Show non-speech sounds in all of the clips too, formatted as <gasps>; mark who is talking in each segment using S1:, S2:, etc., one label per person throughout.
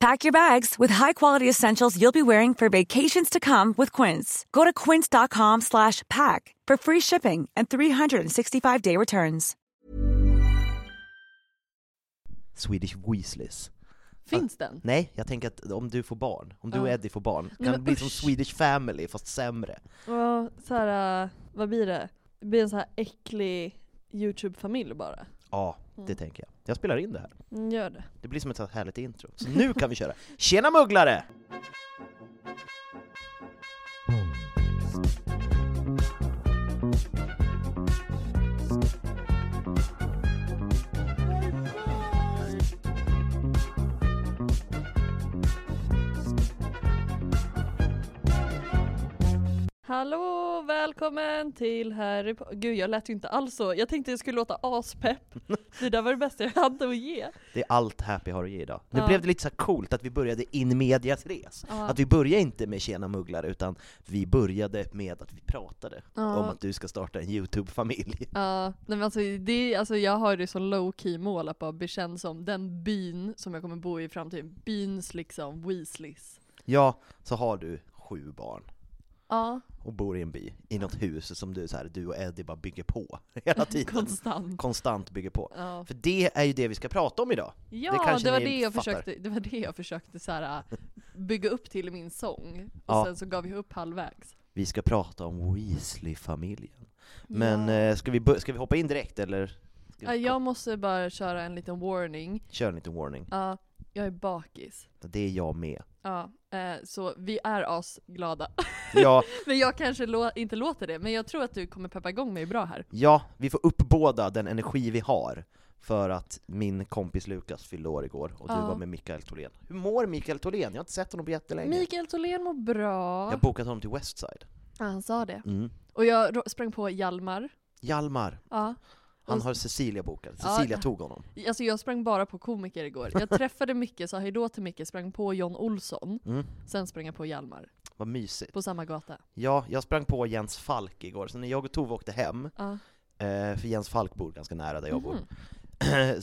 S1: Pack your bags with high-quality essentials you'll be wearing for vacations to come with Quince. Go to quince.com/pack slash pack for free shipping and 365-day returns.
S2: Swedish Weasleys.
S3: Finns den?
S2: Nej, jag tänker att om du får barn, om du
S3: Ja.
S2: och Eddie får barn, kan
S3: men
S2: det bli som
S3: usch.
S2: Swedish Family fast sämre.
S3: Ja, så här, äh, vad blir det? Det blir en så här äcklig YouTube-familj bara.
S2: Ja, det tänker jag. Jag spelar in det här.
S3: Mm, Gör det.
S2: Det blir som ett så här härligt intro. Så nu kan vi köra. <laughs> Tjena mugglare!
S3: Hallå, välkommen till Harry Po- Gud jag lät ju inte alls så. Jag tänkte jag skulle låta <laughs> aspepp. Det där var det bästa jag hade att ge.
S2: Det är allt Happy har att ge idag. Nu
S3: Ja.
S2: blev det lite så här coolt att vi började in medias res. Att vi började inte med Tjena mugglare, utan vi började med att vi pratade
S3: Ja.
S2: om att du ska starta en YouTube-familj.
S3: Ja, nej men alltså, det, alltså jag har det som low key mål att bara bli känd som den byn som jag kommer bo i i framtiden. Byns liksom Weasleys.
S2: Ja, så har du sju barn.
S3: Ja,
S2: och bor i en by, i något hus som du, så här, du och Eddie bara bygger på <laughs> hela tiden.
S3: konstant.
S2: Konstant bygger på.
S3: Mm. Ja,
S2: För det är ju det vi ska prata om idag.
S3: ja
S2: kanske
S3: det, var
S2: ni
S3: det, jag
S2: fattar.
S3: försökte, det var det jag försökte så här, äh, bygga upp till i min sång. Och
S2: Ja.
S3: sen så gav jag upp halvvägs.
S2: Vi ska prata om Weasley-familjen. Men
S3: ja.
S2: eh, ska, vi bör- ska vi hoppa in direkt eller? Ska
S3: Ja,
S2: vi
S3: Äh, jag måste bara köra en liten warning.
S2: Kör en liten warning.
S3: Ja, jag är bakis.
S2: Det är jag med.
S3: Ja, eh, så vi är asglada. <laughs>
S2: Ja,
S3: men jag kanske lå- inte låter det, men jag tror att du kommer peppa igång mig bra här.
S2: ja, vi får uppbåda den energi vi har. För att min kompis Lukas fyllde år igår och du
S3: Ja.
S2: var med Mikael Tholén. Hur mår Mikael Tholén? Jag har inte sett honom på jättelänge.
S3: Mikael Tholén mår bra.
S2: Jag har bokat honom till Westside.
S3: Ja, han sa det.
S2: Mm.
S3: Och jag rå- sprang på Hjalmar.
S2: Hjalmar,
S3: Ja.
S2: han
S3: Och-
S2: har Cecilia bokad.
S3: Ja.
S2: Cecilia tog honom.
S3: Alltså jag sprang bara på komiker igår.
S2: <laughs>
S3: Jag träffade Micke, sa hejdå till Micke, sprang på John Olsson,
S2: Mm,
S3: sen sprang jag på Hjalmar.
S2: vad mysigt.
S3: På samma gata.
S2: Ja, jag sprang på Jens Falk igår, så när jag och Tove åkte hem,
S3: Ja.
S2: eh, för Jens Falk bor ganska nära där jag bor,
S3: Mhm.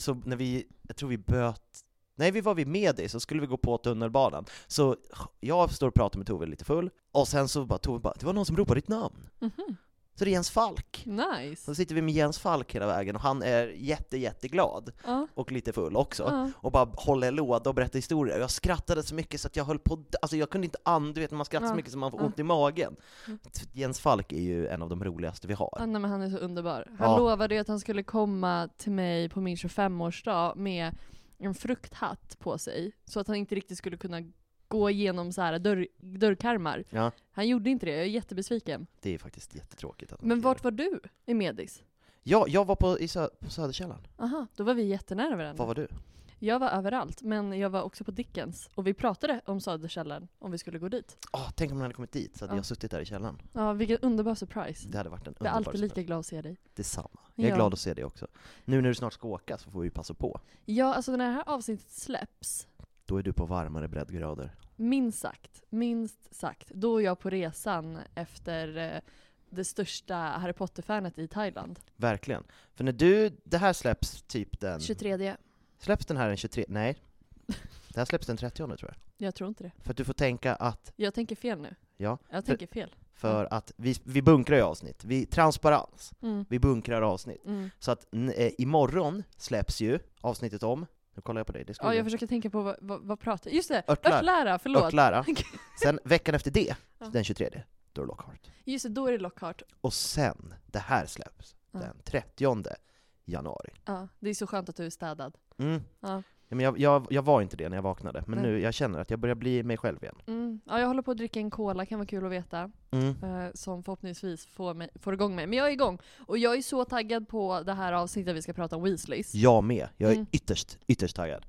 S2: <clears throat> så när vi, jag tror vi böt, nej vi var vid Medis, så skulle vi gå på tunnelbanan. Så jag står och pratar med Tove lite full, och sen så bara Tove bara, det var någon som ropade ditt namn.
S3: Mhm.
S2: Så det är Jens Falk.
S3: Nice.
S2: Så sitter vi med Jens Falk hela vägen, och han är jätte, jätteglad,
S3: Ja.
S2: och lite full också.
S3: Ja.
S2: och bara håller låda och berättar historier. Och Jag skrattade så mycket så att jag höll på att dö. alltså jag kunde inte andas, du vet när man skrattar
S3: Ja,
S2: så mycket så man får
S3: ja.
S2: ont i magen.
S3: Mm.
S2: Jens Falk är ju en av de roligaste vi
S3: Ah,
S2: har.
S3: nej, men han är så underbar. Han
S2: Ja.
S3: lovade ju att han skulle komma till mig på min 25-årsdag med en frukthatt på sig. Så att han inte riktigt skulle kunna gå igenom så här dörr, dörrkarmar.
S2: Ja.
S3: Han gjorde inte det, jag är jättebesviken.
S2: Det är faktiskt jättetråkigt. Att man
S3: Men
S2: inte gör
S3: vart var du i Medis?
S2: det. Ja, jag var på, i sö på Söderkällan.
S3: Aha, då var vi jättenära varandra.
S2: Var var du?
S3: Jag var överallt, men jag var också på Dickens. Och vi pratade om Söderkällan, om vi skulle gå dit.
S2: Ah, tänk om man hade kommit dit så hade
S3: Ja.
S2: jag suttit där i källaren.
S3: Ja, vilken underbar surprise.
S2: Det hade varit en
S3: Jag är
S2: underbar
S3: alltid lika
S2: semester.
S3: glad att se dig.
S2: Detsamma. Jag är
S3: Ja.
S2: glad att se det också. Nu när du snart ska åka så får vi passa på.
S3: Ja, alltså när det här avsnittet släpps,
S2: Då är du på varmare breddgrader.
S3: minst sagt, minst sagt, då är jag på resan efter eh, det största Harry Potter-fanet i Thailand.
S2: Mm. Verkligen. För när du, det här släpps typ den...
S3: 23.
S2: Släpps den här den 23? Nej. Det här släpps den 30 tror jag.
S3: Jag tror inte det.
S2: För att du får tänka att,
S3: Jag tänker fel nu.
S2: ja,
S3: Jag tänker fel.
S2: för att vi, vi bunkrar ju avsnitt. Vi, transparens.
S3: Mm.
S2: Vi bunkrar avsnitt.
S3: Mm.
S2: Så att n- eh, imorgon släpps ju avsnittet om, nu kollar jag på dig, det ska
S3: Ja,
S2: vi-
S3: jag försöker tänka på vad, vad, vad pratar... Just det!
S2: Örtlära.
S3: Örtlära, förlåt!
S2: Örtlära. Sen veckan efter det,
S3: Ja.
S2: den 23, då är det Lockhart.
S3: <laughs> Just det, då är det Lockhart.
S2: Och sen, det här släpps
S3: Ja.
S2: den 30 januari.
S3: Ja, det är så skönt att du är städad.
S2: Mm.
S3: Ja.
S2: Ja, men jag, jag, jag var inte det när jag vaknade, men
S3: Nej.
S2: nu jag känner att jag börjar bli mig själv igen.
S3: Mm. Ja, jag håller på att dricka en cola, kan vara kul att veta.
S2: Mm.
S3: Eh, som förhoppningsvis får, mig, får igång mig. Men jag är igång! Och jag är så taggad på det här avsnittet vi ska prata om Weasleys.
S2: Jag med, jag är
S3: Mm.
S2: ytterst, ytterst taggad.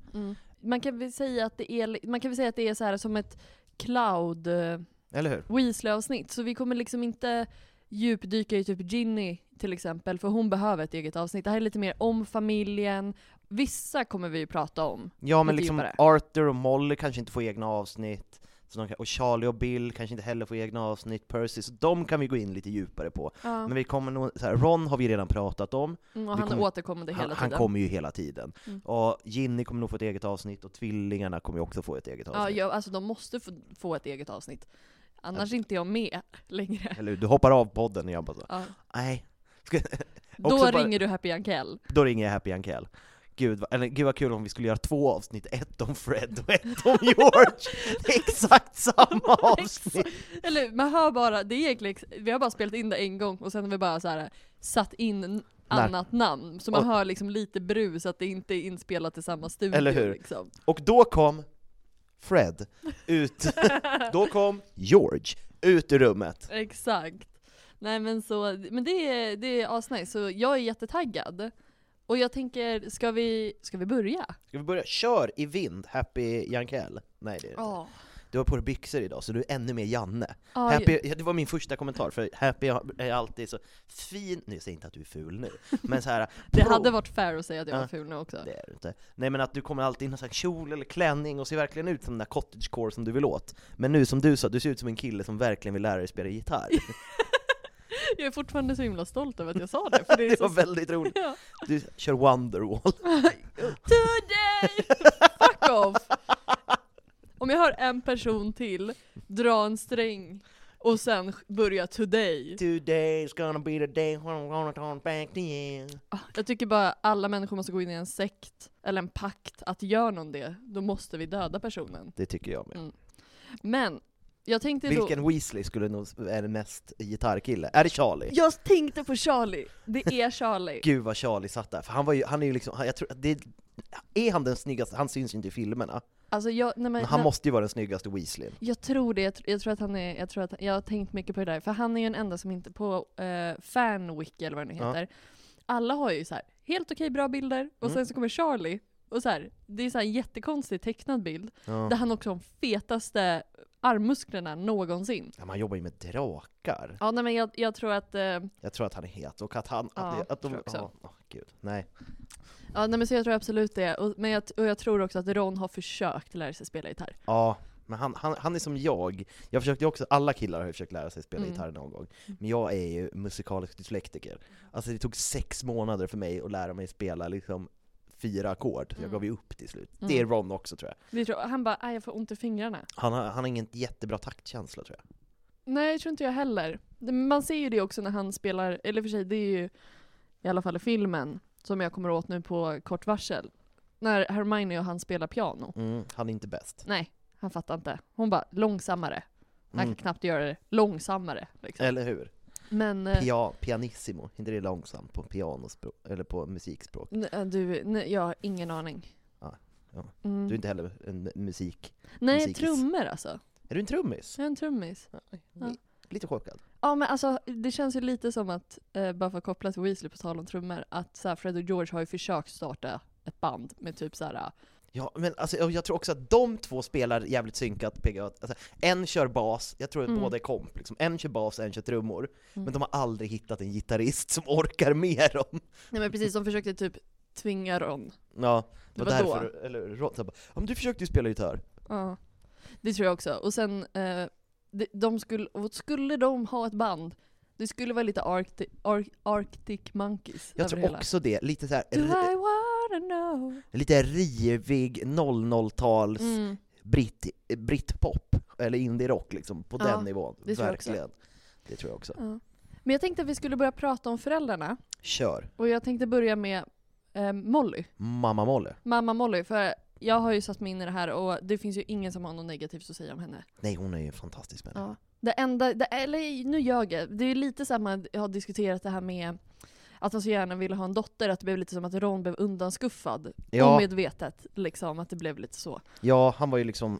S3: Man kan väl säga att det är, li- man kan väl säga att det är så här som ett cloud eh,
S2: Eller hur?
S3: Weasley-avsnitt. Så vi kommer liksom inte djupdyka i typ Ginny till exempel, för hon behöver ett eget avsnitt. Det här är lite mer om familjen. Vissa kommer vi ju prata om.
S2: Ja men
S3: Lite
S2: liksom
S3: djupare.
S2: Arthur och Molly kanske inte får egna avsnitt, så de kan, och Charlie och Bill kanske inte heller får egna avsnitt, Percy, så de kan vi gå in lite djupare på.
S3: Ja.
S2: Men vi kommer nog, så här, Ron har vi redan pratat om,
S3: Mm, och
S2: vi
S3: han
S2: kommer-
S3: återkommer det hela
S2: han, han
S3: tiden. Mm.
S2: kommer ju hela tiden. Och Ginny kommer nog få ett eget avsnitt, och tvillingarna kommer ju också få ett eget
S3: ja,
S2: avsnitt. Alltså-
S3: ja, alltså de måste få, få ett eget avsnitt. Annars är inte jag med längre.
S2: Eller hur? Du hoppar av podden och jag bara så,
S3: Ja.
S2: nej. <laughs>
S3: Då
S2: Också bara-
S3: ringer du Happy Ankell.
S2: Då ringer jag Happy Ankell. Gud, vad- eller, gud vad kul om vi skulle göra två avsnitt, ett om Fred och ett
S3: <laughs>
S2: om George! <laughs> Det är Exakt samma avsnitt!
S3: Eller man hör bara, det är egentligen, ex- vi har bara spelat in det en gång och sen har vi bara så här satt in n- annat namn. Så man
S2: Och-
S3: hör liksom lite brus att det inte är inspelat i samma studio.
S2: Eller hur?
S3: Liksom.
S2: Och då kom Fred
S3: <laughs>
S2: ut, då kom George ut ur rummet.
S3: Exakt. Nej men så, men det är, det är asnice. Så jag är jättetaggad. Och jag tänker, ska vi, ska vi börja?
S2: Ska vi börja? Kör i vind, Happy Jankell. Nej det är det inte.
S3: Ja.
S2: Du har på dig byxor idag så du är ännu mer Janne.
S3: Ja,
S2: Happy, ja, det var min första kommentar, för Happy är alltid så fin, nu säger jag inte att du är ful nu, men så här.
S3: <laughs> Det
S2: pro-
S3: hade varit fair att säga att jag var
S2: Ja.
S3: ful nu också.
S2: Det är du inte. Nej men att du kommer alltid i någon sån här kjol eller klänning och ser verkligen ut som den där cottagecore som du vill åt. Men nu som du sa, du ser ut som en kille som verkligen vill lära dig spela
S3: <laughs>
S2: gitarr.
S3: Jag är fortfarande så himla stolt över att
S2: <laughs>
S3: jag sa det, för det är
S2: Det var
S3: så...
S2: väldigt roligt.
S3: Ja.
S2: Du kör Wonderwall.
S3: Today! Fuck off! Om jag hör en person till dra en sträng och sen sk- börja today.
S2: Today's gonna be the day when I'm gonna turn back to you.
S3: Jag tycker bara alla människor måste gå in i en sekt, eller en pakt, att gör någon det, då måste vi döda personen.
S2: Det tycker jag med.
S3: Men, jag tänkte då...
S2: Vilken Weasley skulle nog är den mest gitarrkille? Är det Charlie?
S3: Jag tänkte på Charlie! Det är Charlie.
S2: Gud vad Charlie satt där, för han var ju, han är ju liksom, han, jag tror, att det, är han den snyggaste? Han syns ju inte i filmerna,
S3: Alltså jag, nej, men,
S2: men han
S3: nej.
S2: måste ju vara den snyggaste Weasleyn.
S3: Jag tror det, jag, tr- jag tror att han är, jag tror att, jag har tänkt mycket på det där, för han är ju den enda som inte, på eh, Fanwiki eller vad den
S2: Ja.
S3: heter, alla har ju så här helt okej bra bilder, och sen så kommer Charlie, och så här, det är så här en jättekonstig tecknad bild, där han också har de fetaste armmusklerna någonsin.
S2: Ja, men han jobbar ju med drakar.
S3: Ja nej men jag, jag tror att, eh,
S2: Jag tror att han är het, och att han...
S3: Ja,
S2: att, att de,
S3: tror jag också.
S2: ja, åh, gud, nej.
S3: ja nej men så jag tror absolut det, och, men jag, och jag tror också att Ron har försökt lära sig spela gitarr.
S2: Ja, men han, han, han är som jag. Jag försökte ju också, alla killar har ju försökt lära sig spela
S3: Mm.
S2: gitarr någon gång. Men jag är ju musikalisk dyslektiker. Alltså det tog sex månader för mig att lära mig spela liksom fyra ackord,
S3: Mm.
S2: så jag gav ju upp till slut. Det är Ron också tror jag.
S3: Vi tror, han bara, "Aj, jag får ont i fingrarna.
S2: Han har, han har ingen jättebra taktkänsla tror jag.
S3: Nej, jag tror inte jag heller. Det- Man ser ju det också när han spelar, eller för sig, det är ju i alla fall i filmen som jag kommer åt nu på kort varsel. När Hermione och han spelar piano.
S2: Mm, han är inte bäst.
S3: Nej, han fattar inte. Hon bara långsammare. Han
S2: Mm.
S3: kan knappt göra det långsammare. Liksom.
S2: Eller hur?
S3: Men eh,
S2: Pia, pianissimo, inte det långsamt på pianospråk, eller på musikspråk?
S3: n- eh, du, n- jag har ingen aning.
S2: Ja, ja.
S3: Mm.
S2: Du är inte heller en musik...
S3: Nej,
S2: musikis.
S3: trummor alltså.
S2: Är du en trummis?
S3: Jag är en trummis. Ja.
S2: Lite chockad.
S3: Ja men alltså det känns ju lite som att, eh, bara för att koppla till Weasley på tal om trummor, att så här, Fred och George har ju försökt starta ett band med typ så här.
S2: Ja, men alltså, jag jag tror också att de två spelar jävligt synkat, PGA. Alltså, en kör bas, jag tror att
S3: Mm.
S2: båda är komp, liksom. en kör bas en kör trummor, men de har aldrig hittat en gitarrist som orkar med dem.
S3: Nej men precis, de försökte typ tvinga Ron.
S2: Ja, det var
S3: Det var då.
S2: därför, eller Ron sa bara ja, men du försökte ju spela gitarr.
S3: Ja. Det tror jag också. Och sen, eh, de, de skulle, och skulle de ha ett band, Det skulle vara lite Arctic, Ar Arctic Monkeys
S2: Jag
S3: över
S2: tror
S3: hela.
S2: också det, lite så här,
S3: Do I
S2: ri-
S3: wanna know?
S2: lite rivig 00-tals
S3: Mm.
S2: britt, brittpop, eller indie-rock liksom, på
S3: Ja,
S2: den nivån.
S3: det tror jag också.
S2: Verkligen. Det tror jag också.
S3: Ja. Men jag tänkte att vi skulle börja prata om föräldrarna.
S2: Kör.
S3: Och jag tänkte börja med eh, Molly.
S2: Mamma Molle.
S3: Mamma Molly. För jag har ju satt mig in i det här och det finns ju ingen som har något negativt att säga om henne.
S2: Nej, hon är ju en fantastisk människa.
S3: Ja. Det enda, det, eller nu ljög jag. Det är ju lite så att man har diskuterat det här med att han så gärna ville ha en dotter, att det blev lite som att Ron blev undanskuffad.
S2: Ja.
S3: Omedvetet, liksom. Att det blev lite så.
S2: Ja, han var ju liksom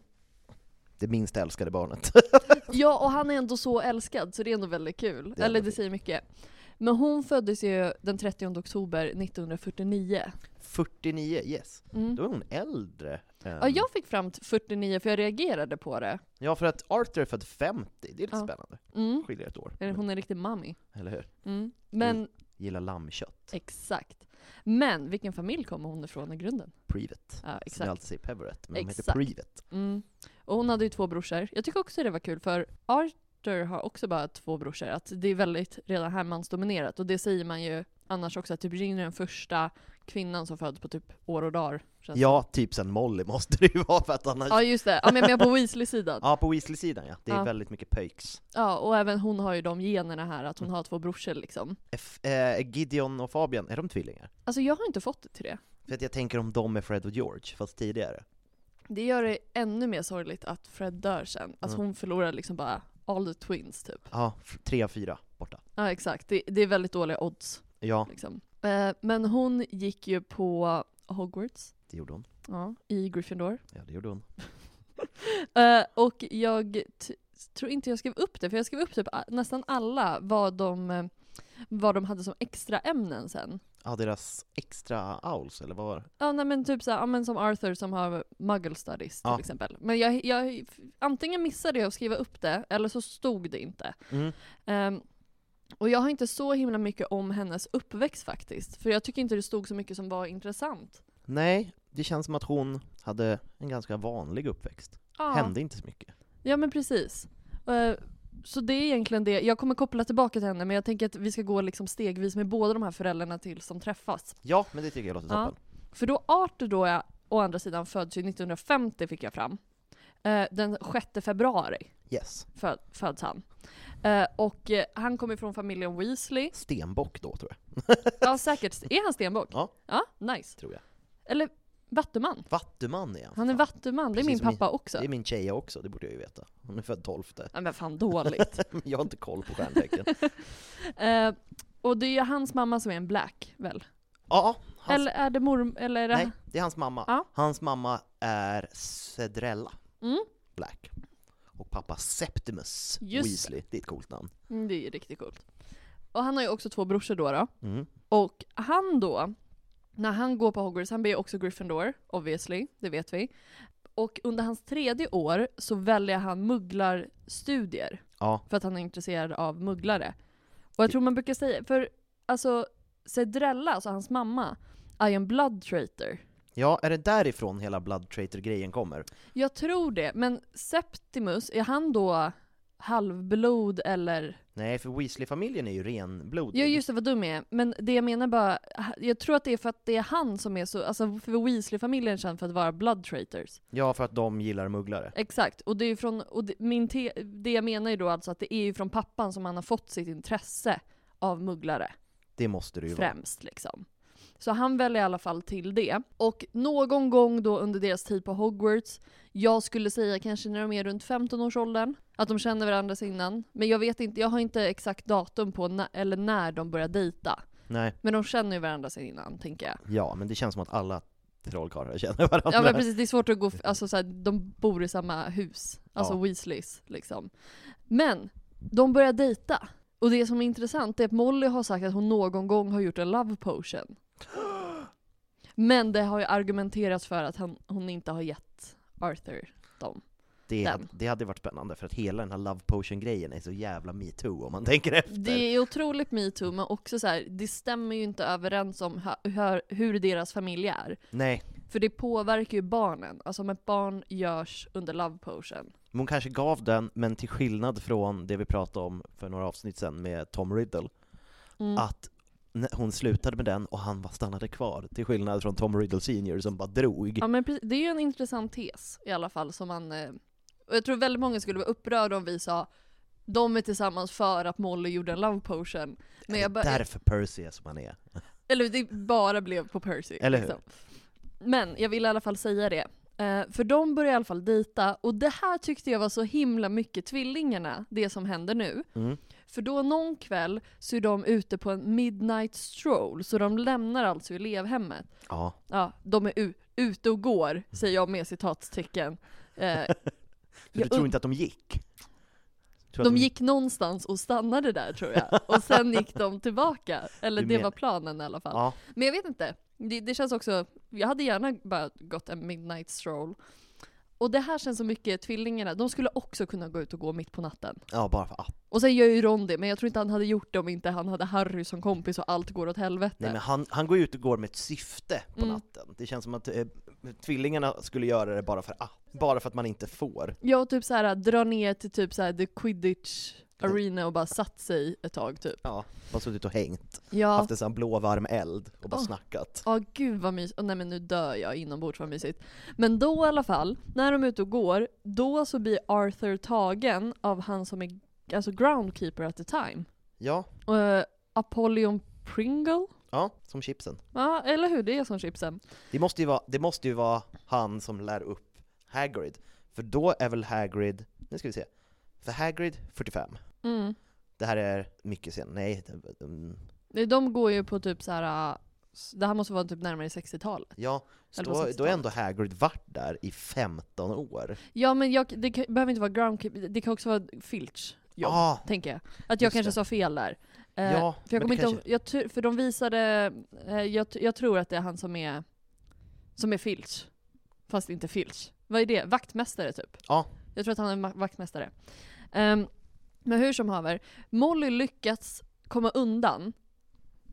S2: det minst älskade barnet. <laughs>
S3: Ja, och han är ändå så älskad, så det är ändå väldigt kul.
S2: Det är
S3: eller
S2: ändå
S3: det
S2: fint.
S3: säger mycket. Men hon föddes ju den 30 oktober 1949.
S2: 49, yes.
S3: Mm.
S2: Då är hon äldre. än-
S3: Ja, jag fick fram t- 49 för jag reagerade på det.
S2: ja, för att Arthur är född 50, det är lite
S3: Ja.
S2: spännande.
S3: Mm.
S2: Skiljer ett år.
S3: Eller Hon är en riktig mummy.
S2: Eller hur?
S3: Mm. Men,
S2: Gillar lammkött.
S3: exakt. Men vilken familj kommer hon ifrån i grunden?
S2: Privet.
S3: Ja,
S2: Som jag
S3: exakt.
S2: alltid säger Peverett, men de heter
S3: Exakt.
S2: Privet.
S3: Mm. Och hon hade ju två brorsor. Jag tycker också det var kul för Arthur har också bara två brorsor. Att det är väldigt redan här mansdominerat. Och det säger man ju annars också, att typ Ring är den första kvinnan som föds på typ år och dagar. känns det.
S2: Ja, typ sen Molly måste det ju <laughs> vara för att annars...
S3: ja just det. Ja, men jag menar på Weasley-sidan.
S2: <laughs> Ja, på Weasley-sidan ja. Det är
S3: Ja.
S2: väldigt mycket pöjks.
S3: Ja, och även hon har ju de generna här, att hon har två brorsor liksom.
S2: F- eh, Gideon och Fabian, är de tvillingar?
S3: Alltså jag har inte fått det till det.
S2: För att jag tänker om de är Fred och George, fast tidigare.
S3: Det gör det ännu mer sorgligt att Fred dör sen. Att
S2: Mm.
S3: hon förlorar liksom bara all the twins typ.
S2: Ja, f- tre av fyra borta.
S3: Ja exakt, det, det är väldigt dåliga odds.
S2: Ja,
S3: Liksom. Eh, men hon gick ju på Hogwarts
S2: det gjorde hon.
S3: ja, i Gryffindor.
S2: Ja, det gjorde hon.
S3: Eh, och jag t- tror inte jag skrev upp det, för jag skrev upp typ a- nästan alla vad de, eh, vad de hade som extra ämnen sen.
S2: Ja, deras extra owls, eller vad var det?
S3: Ja nej, men typ så här, ja, men som Arthur som har muggle studies till
S2: Ja.
S3: exempel. Men jag, jag, antingen missade jag att skriva upp det, eller så stod det inte.
S2: Mm.
S3: Ehm, och jag har inte så himla mycket om hennes uppväxt faktiskt. För jag tycker inte det stod så mycket som var intressant.
S2: Nej, det känns som att hon hade en ganska vanlig uppväxt.
S3: Ja.
S2: Hände inte så mycket.
S3: Ja men precis. Eh, så det är egentligen det. Jag kommer koppla tillbaka till henne men jag tänker att vi ska gå liksom stegvis med båda de här föräldrarna till som träffas.
S2: Ja, men det tycker jag låter
S3: Ja.
S2: toppen.
S3: För då Arthur då är, å andra sidan föds ju 1950 fick jag fram. Eh, den 6 februari.
S2: Yes.
S3: föd, föds han. Eh, och eh, han kommer från familjen Weasley.
S2: Stenbock då, tror jag. <laughs>
S3: Ja säkert, är han stenbock?
S2: Ja.
S3: Ja, nice.
S2: Tror jag.
S3: Eller vattuman.
S2: Vattuman igen.
S3: Han är vattuman, det är
S2: Precis
S3: min
S2: som min-
S3: pappa också.
S2: Det är min tjej också, det borde jag ju veta. Hon är född 12.
S3: <laughs> Ja, men fan dåligt.
S2: <laughs> Men jag har inte koll på stjärntecken.
S3: eh, och det är ju hans mamma som är en black väl?
S2: ja, hans...
S3: Eller är det morm... Eller är det...
S2: Nej, det är hans mamma.
S3: Ja.
S2: Hans mamma är Cedrella
S3: Mm.
S2: Black. Och pappa Septimus
S3: Just det.
S2: Weasley. Det är ett coolt namn.
S3: Mm, Det är ju riktigt coolt. Och han har ju också två brorsor då. då.
S2: Mm.
S3: Och han då, när han går på Hogwarts, han blir också Gryffindor, obviously, det vet vi. Och under hans tredje år så väljer han mugglarstudier.
S2: Ja,
S3: För att han är intresserad av mugglare. Och jag tror man brukar säga, för alltså Cedrella, alltså hans mamma, är ju en blood traitor.
S2: ja, är det därifrån hela Blood Traitor-grejen kommer?
S3: Jag tror det, men Septimus, är han då halvblod eller?
S2: Nej, för Weasley-familjen är ju renblodig.
S3: Ja just det, vad dum jag är. Men det jag menar bara, jag tror att det är för att det är han som är så, alltså för Weasley-familjen är känd för att vara blood traitors.
S2: Ja, för att de gillar mugglare.
S3: Exakt, och det är ju från, och det, min te, det jag menar är då alltså att det är ju från pappan som han har fått sitt intresse av mugglare.
S2: Det måste det ju vara.
S3: främst liksom. Så han väljer i alla fall till det. Och någon gång då under deras tid på Hogwarts, jag skulle säga kanske när de är runt 15-årsåldern, att de känner varandra sedan innan. Men jag vet inte, jag har inte exakt datum på na- eller när de börjar dejta.
S2: Nej,
S3: Men de känner ju varandra sedan innan, tänker jag.
S2: ja, men det känns som att alla trollkarlar känner varandra.
S3: Ja men precis, det är svårt att gå, f- alltså så här, de bor i samma hus. Alltså
S2: Ja.
S3: Weasleys liksom. Men, de börjar dejta. Och det som är intressant är att Molly har sagt att hon någon gång har gjort en love <gasps> potion. Men det har ju argumenterats för att han, hon inte har gett Arthur dem.
S2: det,
S3: den.
S2: hade, det hade varit spännande, för att hela den här Love Potion-grejen är så jävla metoo om man tänker efter.
S3: Det är otroligt metoo men också så här, det stämmer ju inte överens om hö- hör- hur deras familj är.
S2: Nej,
S3: För det påverkar ju barnen. Alltså om ett barn görs under love potion
S2: Men hon kanske gav den, men till skillnad från det vi pratade om för några avsnitt sedan med Tom Riddle,
S3: Mm.
S2: att när hon slutade med den och han bara stannade kvar, till skillnad från Tom Riddle Senior som bara drog.
S3: Ja men precis. det är ju en intressant tes i alla fall som man, eh, och jag tror väldigt många skulle vara upprörda om vi sa de är tillsammans för att Molly gjorde en love potion. Men jag bara,
S2: Det är därför Percy är som han är.
S3: eller det bara blev på Percy. liksom.
S2: Eller hur?
S3: Men jag vill i alla fall säga det. Eh, för de börjar i alla fall dejta, och det här tyckte jag var så himla mycket tvillingarna, det som händer nu.
S2: Mm.
S3: För då någon kväll så är de ute på en midnight stroll, så de lämnar alltså elevhemmet.
S2: Ja.
S3: Ja, de är u- ute och går, säger jag med citatstecken.
S2: <laughs>
S3: Eh,
S2: Så
S3: Jag
S2: du tror
S3: und-
S2: inte att de gick? Tror att
S3: de gick någonstans och stannade där tror jag,
S2: <laughs>
S3: och sen gick de tillbaka. Eller
S2: Du
S3: det
S2: menar-
S3: var planen i alla fall.
S2: Ja.
S3: Men jag vet inte, det, det känns också, jag hade gärna bara gått en midnight stroll. Och det här känns så mycket, tvillingarna, de skulle också kunna gå ut och gå mitt på natten.
S2: ja, bara för app.
S3: Och sen gör ju Ron det, men jag tror inte han hade gjort det om inte han hade Harry som kompis och allt går åt helvete.
S2: Nej men han, han går ut och går med ett syfte på
S3: Mm.
S2: natten. Det känns som att eh, tvillingarna skulle göra det bara för app. Bara för att man inte får.
S3: Ja, och typ så här dra ner till typ så här the quidditch arena och bara satt sig ett tag typ.
S2: Ja, bara suttit och hängt.
S3: Ja.
S2: Haft en sån här blå varm eld och bara
S3: Åh.
S2: snackat.
S3: Ja gud vad mysigt, Åh, nej men nu dör jag inombords vad mysigt. Men då i alla fall, när de är ute och går, då så blir Arthur tagen av han som är alltså groundkeeper at the time.
S2: Ja,
S3: Eh, Apollyon Pringle?
S2: ja, som chipsen.
S3: Ja eller hur, det är som chipsen.
S2: Det måste ju vara, det måste ju vara han som lär upp Hagrid. För då är väl Hagrid, nu ska vi se. För Hagrid, 45.
S3: Mm.
S2: Det här är mycket sen. Nej, det- mm,
S3: Nej, De går ju på typ så här. eh, s- det här måste vara typ närmare 60-talet.
S2: ja. Så
S3: Eller på
S2: då, då
S3: 60-talet.
S2: är ändå Hagrid varit där i 15 år.
S3: Ja men jag, det kan, behöver inte vara groundkeeper, det kan också vara Filch.
S2: Ja,
S3: jobb, tänker jag. Att jag
S2: Ah, Just
S3: kanske
S2: det.
S3: sa fel där. Eh,
S2: Ja,
S3: för jag
S2: men
S3: kommer
S2: det
S3: inte ihåg- jag tu- för de visade, eh, jag, t- jag tror att det är han som är, som är Filch. Fast inte Filch. Vad är det? Vaktmästare typ?
S2: Ja.
S3: Jag tror att han är ma- vaktmästare. Ehm, men hur som haver, Molly lyckats komma undan.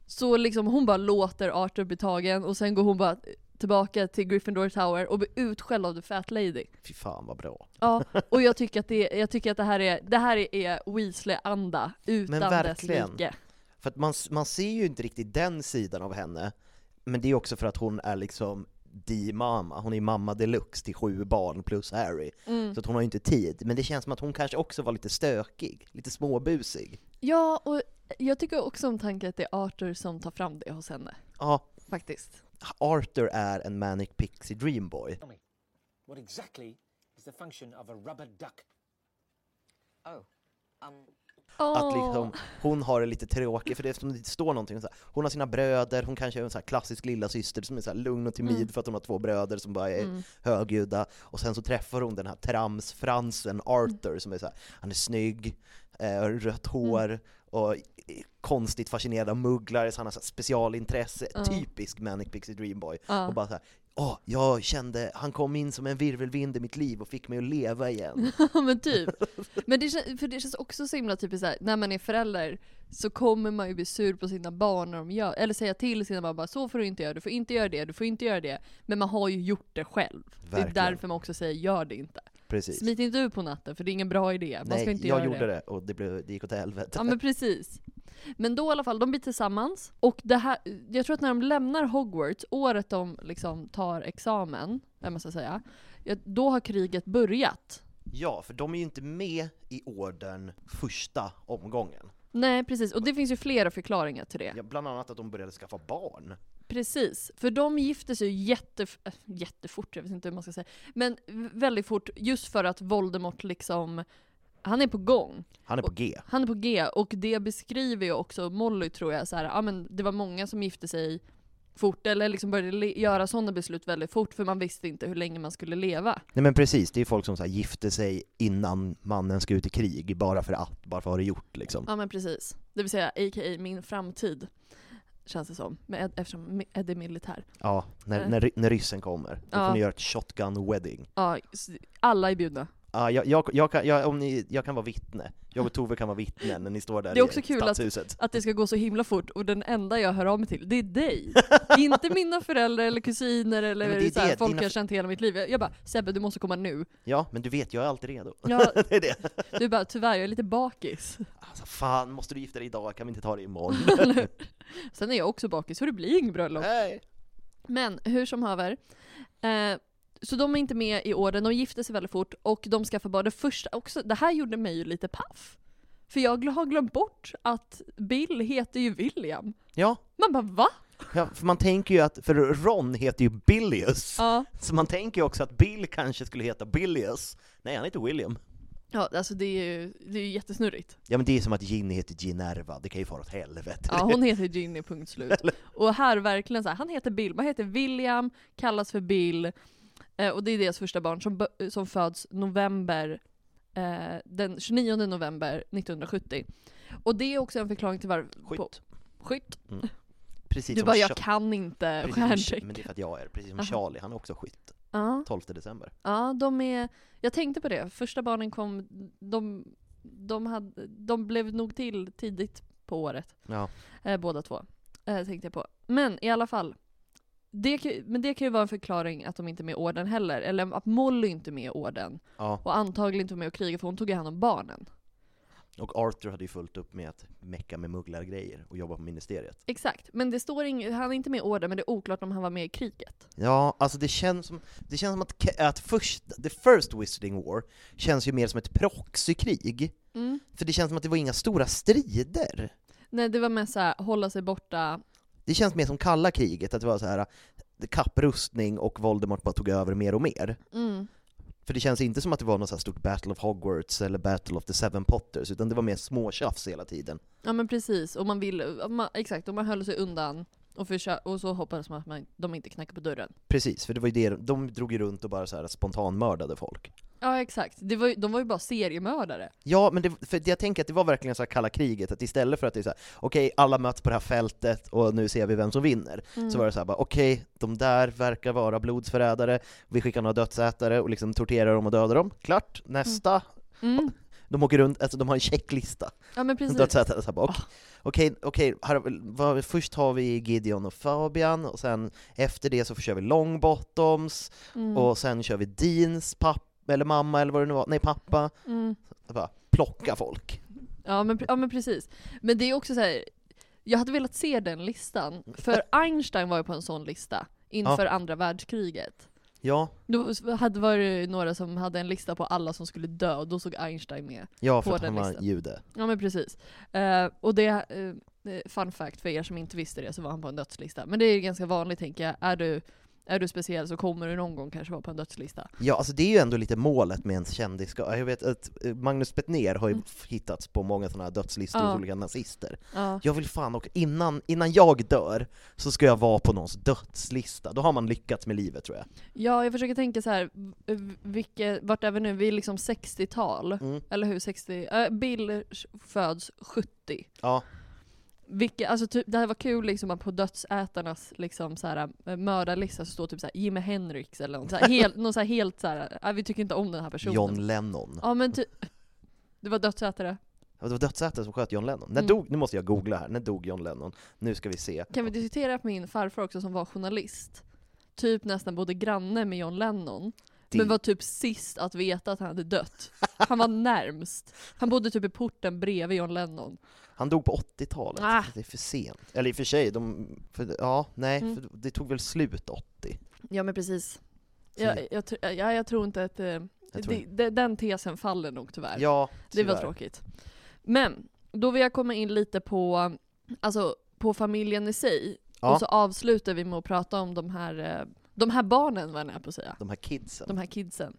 S3: Så liksom hon bara låter Arthur bli tagen och sen går hon bara tillbaka till Gryffindor Tower och blir utskälld av The Fat Lady.
S2: fy fan vad bra.
S3: Ja, och jag tycker att det, jag tycker att det här är, det här är Weasley-anda utan
S2: Men
S3: dess
S2: verkligen.
S3: like.
S2: För att man, s- man ser ju inte riktigt den sidan av henne, men det är också för att hon är liksom di mamma, hon är mamma deluxe till sju barn plus Harry. Så att hon har ju inte tid. Men det känns som att hon kanske också var lite stökig, lite småbusig.
S3: Ja, och jag tycker också om tanken att det är Arthur som tar fram det hos henne.
S2: Ja,
S3: Faktiskt.
S2: Arthur är en Manic Pixie Dreamboy.
S4: What exactly is the function of a rubber duck? Oh, um,
S2: Att
S3: Åh.
S2: liksom, hon har det lite tråkigt, för det eftersom det står någonting så här, hon har sina bröder, hon kanske är en så här klassisk lilla syster som är så här lugn och timid för att hon har två bröder som bara är högljudda, och sen så träffar hon den här tramsfransen Arthur som är så här, han är snygg, eh, har rött hår, och i- i- konstigt fascinerad av mugglare, så han har så här specialintresse, typisk Manic Pixie Dreamboy. Och bara så här, Åh, jag kände, han kom in som en virvelvind i mitt liv och fick mig att leva igen.
S3: <laughs> Ja men typ. Men det, kän- för det känns också så himla typiskt såhär, när man är förälder så kommer man ju bli sur på sina barn när de gör, eller säga till sina barn bara så får du inte göra, du får inte göra det, du får inte göra det. Men man har ju gjort det själv.
S2: Verkligen.
S3: Det är därför man också säger gör det inte.
S2: Precis.
S3: Smit inte ut på natten för det är ingen bra idé. Man ska
S2: Nej,
S3: inte
S2: jag
S3: göra
S2: gjorde det.
S3: det.
S2: och det, blev, det gick åt helvete.
S3: Ja men precis. Men då i alla fall, de blir tillsammans. Och det här, jag tror att när de lämnar Hogwarts, året de liksom tar examen, eller man ska säga, ja, då har kriget börjat.
S2: Ja, för de är ju inte med i orden första omgången.
S3: Nej precis, och det finns ju flera förklaringar till det.
S2: Ja, bland annat att de började skaffa barn.
S3: Precis, för de gifte sig ju jättef- äh, jättefort, jag vet inte hur man ska säga. Men v- väldigt fort, just för att Voldemort liksom, han är på gång.
S2: Han är på G.
S3: Han är på G, och det beskriver ju också Molly tror jag, så här, ja, men det var många som gifte sig fort, eller liksom började le- göra sådana beslut väldigt fort, för man visste inte hur länge man skulle leva.
S2: Nej men precis, det är ju folk som så här gifte sig innan mannen ska ut i krig, bara för att, bara för att ha det gjort liksom.
S3: Ja men precis. Det vill säga, a.k.a. min framtid, känns det som, med Ed, eftersom Eddie är militär.
S2: Ja, när, när, ry- när ryssen kommer. Då
S3: Ja.
S2: får ni göra ett shotgun wedding.
S3: Ja, s- alla är bjudna.
S2: Ja, jag, jag, jag, kan, jag, om ni, jag kan vara vittne. Jag och Tove kan vara vittnen när ni står där
S3: Det är också
S2: i
S3: kul att,
S2: stadshuset.
S3: att det ska gå så himla fort och den enda jag hör av mig till, det är <laughs> dig. Inte mina föräldrar eller kusiner eller
S2: Nej, men det är
S3: så här,
S2: det,
S3: folk
S2: dina
S3: jag
S2: för-
S3: känt hela mitt liv. Jag bara “Sebbe, du måste komma <laughs> nu”.
S2: Ja, men du vet, jag är alltid redo. <laughs>
S3: Ja,
S2: det är det.
S3: du bara “Tyvärr, jag är lite bakis”.
S2: Alltså, fan, måste du gifta dig idag? Kan vi inte ta det imorgon?
S3: Sen är jag också bakis, så det blir inget bröllop.
S2: Nej.
S3: Men hur som haver. Eh, så de är inte med i åren, de gifter sig väldigt fort och de skaffar barn. Det första också, det här gjorde mig ju lite paff. För jag gl- har glömt bort att Bill heter ju William.
S2: Ja,
S3: Man bara va?
S2: ja, för man tänker ju att, för Ron heter ju Billius.
S3: Ja.
S2: Så man tänker ju också att Bill kanske skulle heta Billius. Nej, han heter William.
S3: Ja, alltså det är ju, det är ju jättesnurrigt.
S2: Ja men det är som att Ginny heter Ginerva, det kan ju fara åt helvete.
S3: <laughs> Ja, hon heter Ginny, punkt slut. Och här verkligen så här, han heter Bill, man heter William, kallas för Bill. Eh, och det är deras första barn som, bö- som föds november, eh, den 29 november 1970. Och det är också en förklaring till varför...
S2: Skytt.
S3: på- Skytt.
S2: <laughs> Precis
S3: Du
S2: som
S3: bara, jag
S2: Cha-
S3: kan inte
S2: precis som- Men det är
S3: stjärntecken.
S2: för att jag är, precis som
S3: Aha.
S2: Charlie, han är också skytt.
S3: Ja,
S2: 12 december.
S3: ja, de är... Jag tänkte på det, första barnen kom, de, de, hade, de blev nog till tidigt på året.
S2: Ja.
S3: Eh, båda två. Eh, tänkte jag på. Men i alla fall. Det kan, men det kan ju vara en förklaring att de inte är med i orden heller. Eller att Molly inte är med i orden.
S2: ja.
S3: Och antagligen inte var med och krigade för hon tog ju hand om barnen.
S2: Och Arthur hade ju fullt upp med att mecka med mugglargrejer och jobba på ministeriet.
S3: Exakt. Men det står ing- han är inte med i orden men det är oklart om han var med i kriget.
S2: Ja, alltså det känns som, det känns som att, ke- att först, the first Wizarding War känns ju mer som ett proxykrig.
S3: Mm.
S2: För det känns som att det var inga stora strider.
S3: Nej det var mest såhär, hålla sig borta.
S2: Det känns mer som kalla kriget, att det var så här eh, kapprustning och Voldemort bara tog över mer och mer.
S3: Mm.
S2: För det känns inte som att det var något så här stort Battle of Hogwarts eller Battle of the Seven Potters, utan det var mer småtjafs hela tiden.
S3: Ja men precis. Och man vill, man, exakt, och man höll sig undan. Och, försö- och så hoppades man att man, de inte knackade på dörren.
S2: Precis, för det var ju det, de drog ju runt och bara så här spontanmördade folk.
S3: Ja exakt. Det var, ju- de var ju bara seriemördare.
S2: Ja, men det, för jag tänker att det var verkligen så här kalla kriget, att istället för att det är så här, okej, alla möts på det här fältet och nu ser vi vem som vinner, så
S3: Mm.
S2: var det så här bara, okej, de där verkar vara blodsförrädare, vi skickar några dödsätare och liksom torterar dem och dödar dem, klart, nästa.
S3: Mm.
S2: De åker runt, alltså de har en checklista.
S3: Ja men
S2: En
S3: precis. Ah.
S2: dödsätare såhär bara okej, okej, okej, här- vad- först har vi Gideon och Fabian, och sen efter det så kör vi Longbottoms,
S3: Mm,
S2: och sen kör vi Deans pappa, eller mamma eller vad det nu var, nej pappa.
S3: Mm.
S2: Så Bara, plocka folk.
S3: Ja men, ja men precis. Men det är också så här. jag hade velat se den listan. För Einstein var ju på en sån lista inför andra världskriget.
S2: Ja,
S3: Då s- hade var det några som hade en lista på alla som skulle dö, och då såg Einstein med.
S2: ja
S3: På
S2: för att
S3: den
S2: han var
S3: listan.
S2: jude.
S3: Ja men precis. Eh, och det, eh, fun fact för er som inte visste det, så var han på en dödslista. Men det är ju ganska vanligt tänker jag, är du, är du speciell så kommer du någon gång kanske vara på en dödslista.
S2: Ja, alltså det är ju ändå lite målet med ens kändis. Jag vet att eh, Magnus Bettner har ju hittats på många sådana här dödslistor hos
S3: Mm. Ja.
S2: olika nazister.
S3: Ja.
S2: Jag vill fan och innan, innan jag dör så ska jag vara på någons dödslista. Då har man lyckats med livet tror jag.
S3: Ja, jag försöker tänka så här, v- vilket, vart är vi nu? Vi är liksom 60-tal,
S2: Mm.
S3: eller hur? 60, äh, Bill föds 70.
S2: Ja.
S3: Vilka, alltså typ, det här var kul liksom att på dödsätarnas liksom så här, eh, mördarlista så står typ så här Jimi Hendrix eller något,
S2: <laughs>
S3: så här, helt, någon så här, helt så här, "Ah, vi tycker inte om den här personen.
S2: John Lennon.
S3: Ja men typ, det var dödsätare.
S2: Ja, Det var dödsätare som sköt John Lennon. När
S3: Mm.
S2: dog, nu måste jag googla här, när dog John Lennon? Nu ska vi se.
S3: Kan vi diskutera att min farfar också som var journalist, typ nästan bodde granne med John Lennon,
S2: Det-
S3: men var typ sist att veta att han hade dött. Han var närmst. Han bodde typ i porten bredvid John Lennon.
S2: Han dog på 80-talet,
S3: Ah.
S2: det är för sent. Eller i och för sig, de, för, ja, nej,
S3: Mm.
S2: för det tog väl slut 80?
S3: Ja men precis. Jag, jag, tr- ja, jag tror inte att... eh,
S2: Jag tror
S3: det, det, den tesen faller nog tyvärr.
S2: Ja,
S3: det var
S2: tyvärr.
S3: tråkigt. Men, då vill jag komma in lite på, alltså, på familjen i sig.
S2: Ja.
S3: Och så avslutar vi med att prata om de här, eh, de här barnen var jag nära på att säga.
S2: De här kidsen.
S3: de här kidsen.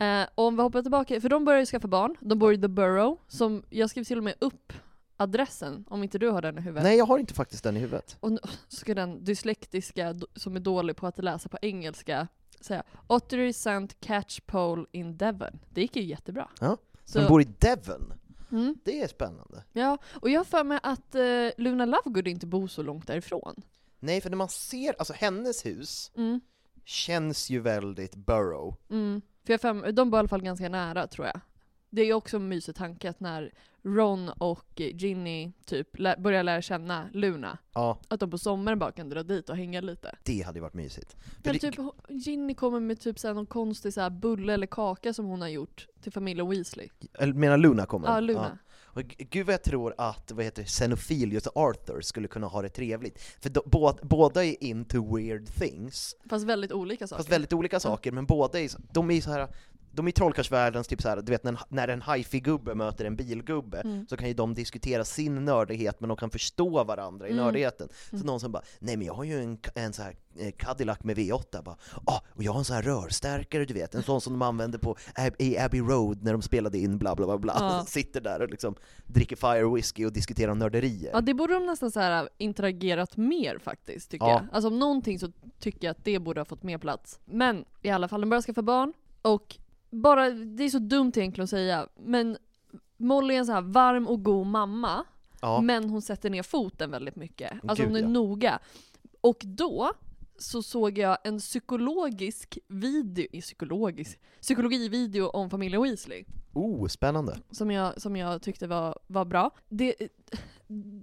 S3: Eh, om vi hoppar tillbaka, för de börjar ju skaffa barn, de bor i The Borough, som jag skrev till och med upp adressen, om inte du har den i huvudet.
S2: Nej, jag har inte faktiskt den i huvudet.
S3: Och nu <laughs> ska den dyslektiska d- som är dålig på att läsa på engelska säga Ottery St. Catchpole in Devon. Det gick ju jättebra.
S2: Ja.
S3: Så,
S2: De bor i Devon.
S3: mm,
S2: Det är spännande.
S3: ja, och jag har för mig att eh, Luna Lovegood inte bor så långt därifrån.
S2: Nej, för när man ser, alltså hennes hus
S3: Mm,
S2: känns ju väldigt Burrow.
S3: mm. För jag fem, de bor i alla fall ganska nära tror jag. Det är ju också en mysig tanke att när Ron och eh, Ginny typ lä- börjar lära känna Luna,
S2: Ja,
S3: att de på sommaren bara kan dra dit och hänga lite.
S2: det hade ju varit mysigt. För
S3: Eller
S2: det-
S3: typ, ho- Ginny kommer med typ så här någon konstig så här bulle eller kaka som hon har gjort till familjen Weasley.
S2: Eller menar Luna kommer?
S3: Ja, Luna.
S2: Och g- gud vad jag tror att, vad heter det, Xenophilius och Arthur skulle kunna ha det trevligt. För de, bå, båda är into weird things,
S3: Fast väldigt olika saker.
S2: fast väldigt olika saker, men båda är, så- de är så här de är i trollkarlsvärldens typ så här, du vet när en, när en hifi-gubbe möter en bilgubbe
S3: Mm.
S2: så kan ju de diskutera sin nördighet men de kan förstå varandra i
S3: Mm.
S2: nördigheten. Så någon som bara ”Nej men jag har ju en, en så här eh, Cadillac med V8” bara ”Ah, och jag har en sån här rörstärkare du vet, en sån som de använde på Ab- i Abbey Road när de spelade in bla bla bla bla”.
S3: Ja.
S2: <laughs> Sitter där och liksom dricker fire whisky och diskuterar nörderier.
S3: Ja det borde de nästan så här interagerat mer faktiskt tycker
S2: Ja.
S3: jag. Alltså om någonting så tycker jag att det borde ha fått mer plats. Men i alla fall, de börjar skaffa barn och bara, det är så dumt egentligen att säga, men Molly är en så här varm och god mamma,
S2: Ja.
S3: men hon sätter ner foten väldigt mycket. Alltså
S2: Gud,
S3: hon är
S2: ja.
S3: noga. Och då så såg jag en psykologisk video, eh, psykologisk, psykologivideo om familjen Weasley
S2: Oh, spännande.
S3: som jag, som jag tyckte var, var bra. Det,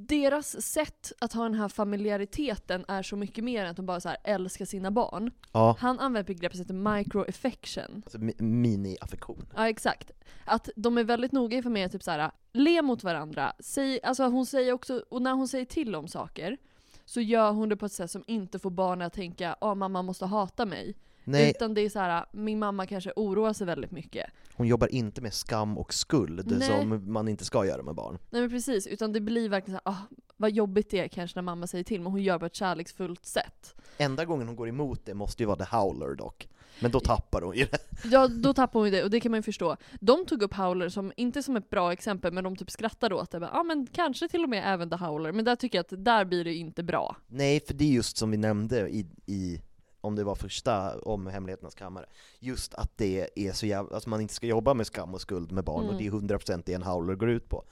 S3: deras sätt att ha den här familjäriteten är så mycket mer än att de bara så här älskar sina barn.
S2: Ja,
S3: Han använder ett begrepp som heter microaffection.
S2: alltså, mi- mini-affektion.
S3: Ja exakt. Att de är väldigt noga för mig att typ så här, le mot varandra. Säg, alltså hon säger också, och när hon säger till om saker så gör hon det på ett sätt som inte får barnen att tänka att mamma måste hata mig.
S2: Nej.
S3: Utan det är så här, min mamma kanske oroar sig väldigt mycket.
S2: Hon jobbar inte med skam och skuld
S3: Nej.
S2: som man inte ska göra med barn.
S3: Nej men precis, utan det blir verkligen såhär, ah, vad jobbigt det är kanske när mamma säger till, men hon gör det på ett kärleksfullt sätt.
S2: Enda gången hon går emot det måste ju vara The Howler dock. Men då tappar hon ju det.
S3: Ja, då tappar hon ju det, och det kan man ju förstå. De tog upp Howler, som, inte som ett bra exempel, men de typ skrattade åt det. Ja ah, men kanske till och med även The Howler, men där tycker jag att där blir det inte bra.
S2: Nej, för det är just som vi nämnde i, i om det var första om Hemligheternas kammare, just att det är så jävla, alltså man inte ska jobba med skam och skuld med barn och det är 100% det en Howler går ut på.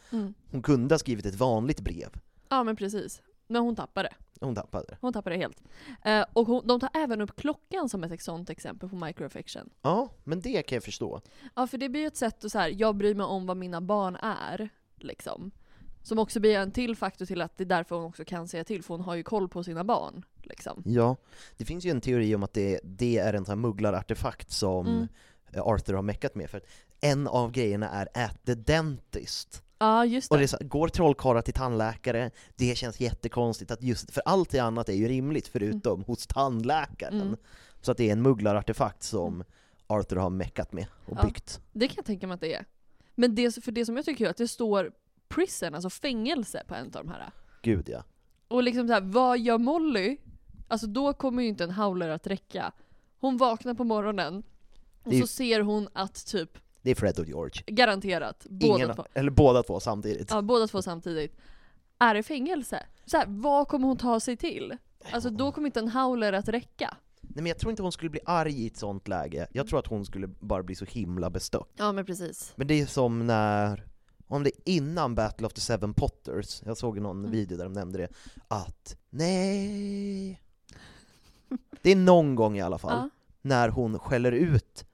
S2: Hon kunde ha skrivit ett vanligt brev,
S3: Ja men precis. Men hon tappar det.
S2: hon tappade det.
S3: Hon tappar det helt. Eh, och hon, de tar även upp klockan som ett sånt exempel på microaffection.
S2: Ja, men det kan jag förstå.
S3: Ja för det blir ju ett sätt att så här, jag bryr mig om vad mina barn är. Liksom. Som också blir en till faktor till att det är därför hon också kan säga till, för hon har ju koll på sina barn. Liksom.
S2: Ja, det finns ju en teori om att det, det är en sån här mugglarartefakt som
S3: Mm.
S2: eh, Arthur har meckat med, för att en av grejerna är at the dentist.
S3: Ja just
S2: Och det
S3: det.
S2: är så, här, går trollkarlar till tandläkare, det känns jättekonstigt att just, för allt det annat är ju rimligt förutom
S3: Mm.
S2: hos tandläkaren. Så att det är en mugglarartefakt som Arthur har meckat med och
S3: Ja.
S2: byggt.
S3: Det kan jag tänka mig att det är. Men det, för det som jag tycker är att det står prison, alltså fängelse på en av de här.
S2: Gud ja.
S3: Och liksom så här, vad gör Molly? Alltså då kommer ju inte en howler att räcka. Hon vaknar på morgonen och
S2: Det är ju-
S3: så ser hon att typ,
S2: Det är Fred och George.
S3: garanterat, båda
S2: Ingen,
S3: två,
S2: eller båda två samtidigt.
S3: ja, båda två samtidigt, är i fängelse. Så här, vad kommer hon ta sig till? Alltså då kommer inte en howler att räcka.
S2: Nej men jag tror inte hon skulle bli arg i ett sånt läge.
S3: Mm.
S2: Jag tror att hon skulle bara bli så himla bestört.
S3: Ja men precis.
S2: Men det är som när, om det är innan Battle of the Seven Potters, jag såg någon
S3: Mm.
S2: video där de nämnde det, att nej. Det är någon gång i alla fall,
S3: Ja.
S2: när hon skäller ut,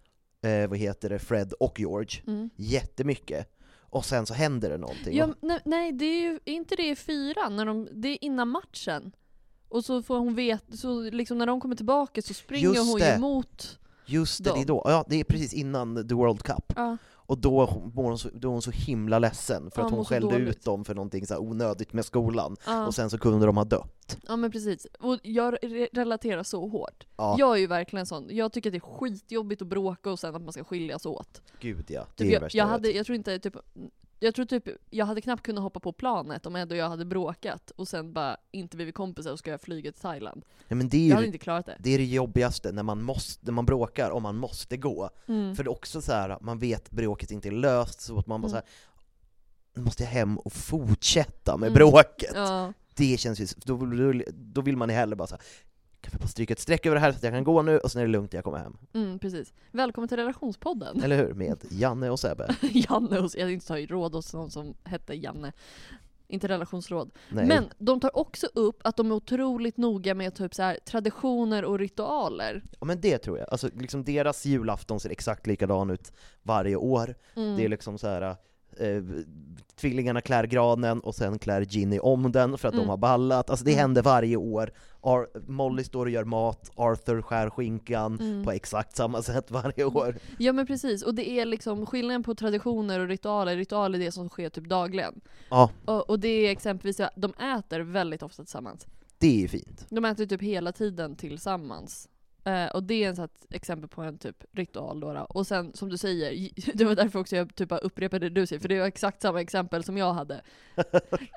S2: eh, vad heter det, Fred och George jättemycket, och sen så händer det någonting.
S3: Mm. Ja, nej, nej, det är ju är inte det i fyran, när de, det är innan matchen. Och så får hon veta, så liksom när de kommer tillbaka så springer
S2: Just
S3: hon
S2: det.
S3: ju emot.
S2: Just det, det är då. Ja, det är precis innan The World Cup.
S3: Ja.
S2: Och då, mår hon så, då är hon så himla ledsen för
S3: Ja,
S2: att
S3: hon
S2: hon
S3: mår så
S2: skällde
S3: dåligt.
S2: ut dem för någonting så här onödigt med skolan,
S3: Ja.
S2: och sen så kunde de ha dött.
S3: Ja men precis. Och jag re- relaterar så hårt.
S2: Ja.
S3: Jag är ju verkligen sån. Jag tycker att det är skitjobbigt att bråka och sen att man ska skiljas åt.
S2: Gud ja, det
S3: Typ
S2: är det
S3: jag,
S2: värsta
S3: jag,
S2: vet.
S3: hade, jag tror inte typ, jag tror typ, jag hade knappt kunnat hoppa på planet om Ed och jag hade bråkat och sen bara inte blivit kompisar och ska jag flyga till Thailand.
S2: Nej, men det är ju
S3: Jag hade inte klarat det.
S2: Det är det jobbigaste, när man, måste, när man bråkar och man måste gå.
S3: Mm.
S2: För det är också så här, man vet att bråket inte är löst, så att man
S3: Mm.
S2: bara så här, nu måste jag hem och fortsätta med bråket.
S3: Mm. Ja.
S2: Det känns ju, då, då, då vill man ju hellre bara så här, kan vi bara stryka ett streck över det här så att jag kan gå nu, och sen är det lugnt när jag kommer hem.
S3: Mm, precis. Välkommen till relationspodden. <laughs>
S2: Eller hur? Med Janne och Sebbe.
S3: Janne och jag hade inte tagit råd hos någon som hette Janne. Inte relationsråd.
S2: Nej.
S3: Men de tar också upp att de är otroligt noga med typ så här, traditioner och ritualer.
S2: Ja men det tror jag. Alltså liksom deras julafton ser exakt likadan ut varje år. Det är liksom så här. Eh, tvillingarna klär granen och sen klär Ginny om den för att de har ballat. Alltså det händer varje år. Ar- Molly står och gör mat, Arthur skär skinkan på exakt samma sätt varje år.
S3: Ja men precis, och det är liksom skillnaden på traditioner och ritualer. Ritualer är det som sker typ dagligen.
S2: Ja,
S3: Och, och det är exempelvis att de äter väldigt ofta tillsammans.
S2: det är ju fint.
S3: De äter typ hela tiden tillsammans. Eh, och det är en sån här exempel på en typ ritual då, då. Och sen som du säger, <laughs> det var därför också jag typ bara upprepade det du säger, för det var exakt samma exempel som jag <laughs> hade.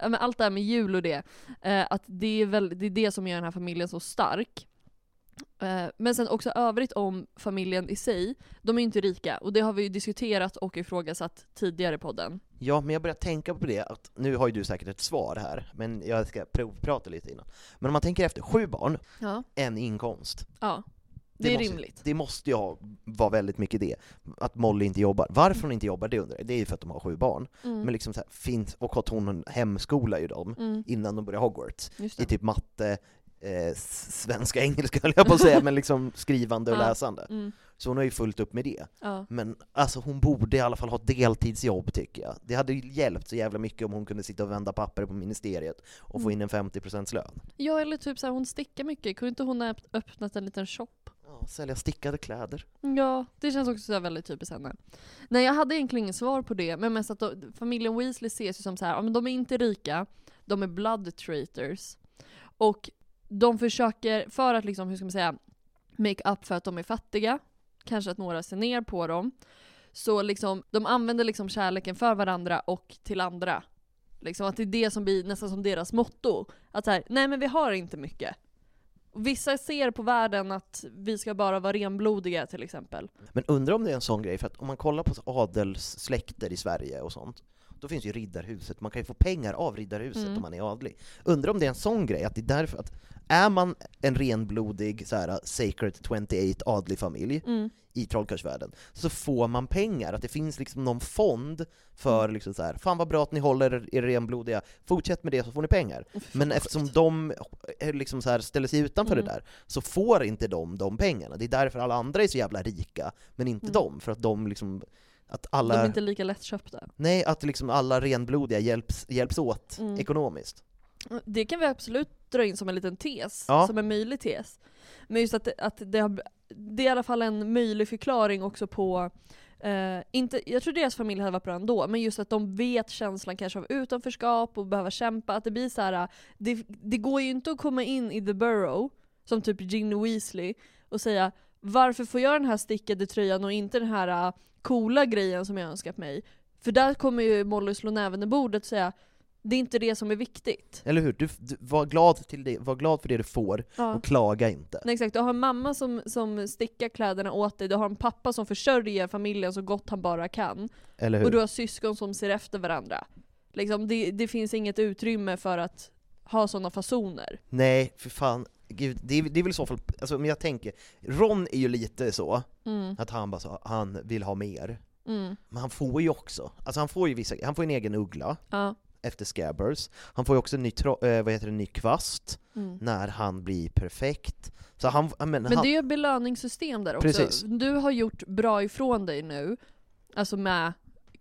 S3: Ja, Men allt det här med jul och det, eh, att det är, väl, det är det som gör den här familjen så stark. Eh, Men sen också övrigt om familjen i sig, de är ju inte rika, och det har vi ju diskuterat och ifrågasatt tidigare i podden.
S2: Ja, men jag börjar tänka på det att, nu har ju du säkert ett svar här, men jag ska provprata lite innan. Men om man tänker efter, sju barn,
S3: Ja.
S2: en inkomst.
S3: Ja. Det, är
S2: måste,
S3: rimligt.
S2: Det måste ju ha- vara väldigt mycket det. Att Molly inte jobbar. Varför hon inte jobbar, det undrar jag. Det är ju för att de har sju barn.
S3: Mm.
S2: Men liksom så här, finns, och att hon hemskolar ju dem innan de börjar Hogwarts.
S3: Mm. Just det.
S2: I typ matte, eh, s- svenska, <laughs> engelska höll jag på att säga, men liksom skrivande och
S3: Ja.
S2: läsande.
S3: Mm.
S2: Så hon har ju fullt upp med det.
S3: Ja.
S2: Men alltså hon borde i alla fall ha ett deltidsjobb tycker jag. Det hade ju hjälpt så jävla mycket om hon kunde sitta och vända papper på ministeriet och
S3: Mm.
S2: få in en 50% lön.
S3: Ja eller typ såhär, hon stickar mycket. Kunde inte hon ha öpp- öppnat en liten shop?
S2: Ja, sälja stickade kläder.
S3: Ja, det känns också så här väldigt typiskt henne. Nej jag hade egentligen ingen svar på det, men mest att då, familjen Weasley ses ju som så här, ja men de är inte rika, de är blood traitors. Och de försöker, för att liksom, hur ska man säga, make up för att de är fattiga, kanske att några ser ner på dem. Så liksom, de använder liksom kärleken för varandra och till andra. Liksom att det är det som blir nästan som deras motto. Att så här, nej men vi har inte mycket. Vissa ser på världen att vi ska bara vara renblodiga till exempel.
S2: Men undrar om det är en sån grej, för att om man kollar på adelssläkter i Sverige och sånt, då finns ju Riddarhuset, man kan ju få pengar av Riddarhuset
S3: Mm.
S2: om man är adlig. Undrar om det är en sån grej, att det är därför att är man en renblodig så här, Sacred 28 adlig familj
S3: Mm.
S2: i trollkarlsvärlden, så får man pengar, att det finns liksom någon fond för
S3: Mm.
S2: liksom så här, fan vad bra att ni håller er renblodiga, fortsätt med det så får ni pengar. Men eftersom de eh, liksom så här ställer sig utanför
S3: Mm.
S2: det där, så får inte de de pengarna. Det är därför alla andra är så jävla rika, men inte de, för att de liksom att alla,
S3: Mm. De är inte lika lättköpta.
S2: nej, att liksom alla renblodiga hjälps, hjälps åt
S3: Mm.
S2: ekonomiskt.
S3: Det kan vi absolut dra in som en liten tes,
S2: Ja.
S3: som en möjlig tes. Men just att, det- att det, har, det är i alla fall en möjlig förklaring också på eh, inte, jag tror deras familj hade varit bra ändå, men just att de vet känslan kanske av utanförskap och behöva kämpa. Att det blir så här, det, det går ju inte att komma in i the burrow, som typ Ginny Weasley, och säga varför får jag den här stickade tröjan och inte den här eh, coola grejen som jag önskat mig? För där kommer ju Molly slå näven i bordet och säga det är inte det som är viktigt.
S2: Eller hur? Du, du, var, glad till det, var glad för det du får, och klaga inte.
S3: Nej, exakt, du har en mamma som, som stickar kläderna åt dig, du har en pappa som försörjer familjen så gott han bara kan.
S2: Eller hur?
S3: Och du har syskon som ser efter varandra. Liksom, det, det finns inget utrymme för att ha sådana fasoner.
S2: Nej, för fan. Gud, det, är, det är väl i så fall, alltså om jag tänker, Ron är ju lite så,
S3: Mm.
S2: att han bara så, han vill ha mer. Men han får ju också, alltså han får ju vissa, han får en egen uggla
S3: Ja.
S2: efter Scabbers, han får ju också en ny, tro, eh, vad heter det, en ny kvast när han blir perfekt. Så han, men,
S3: Mm. Men
S2: han,
S3: det är ju ett belöningssystem där också.
S2: Precis.
S3: Du har gjort bra ifrån dig nu, alltså med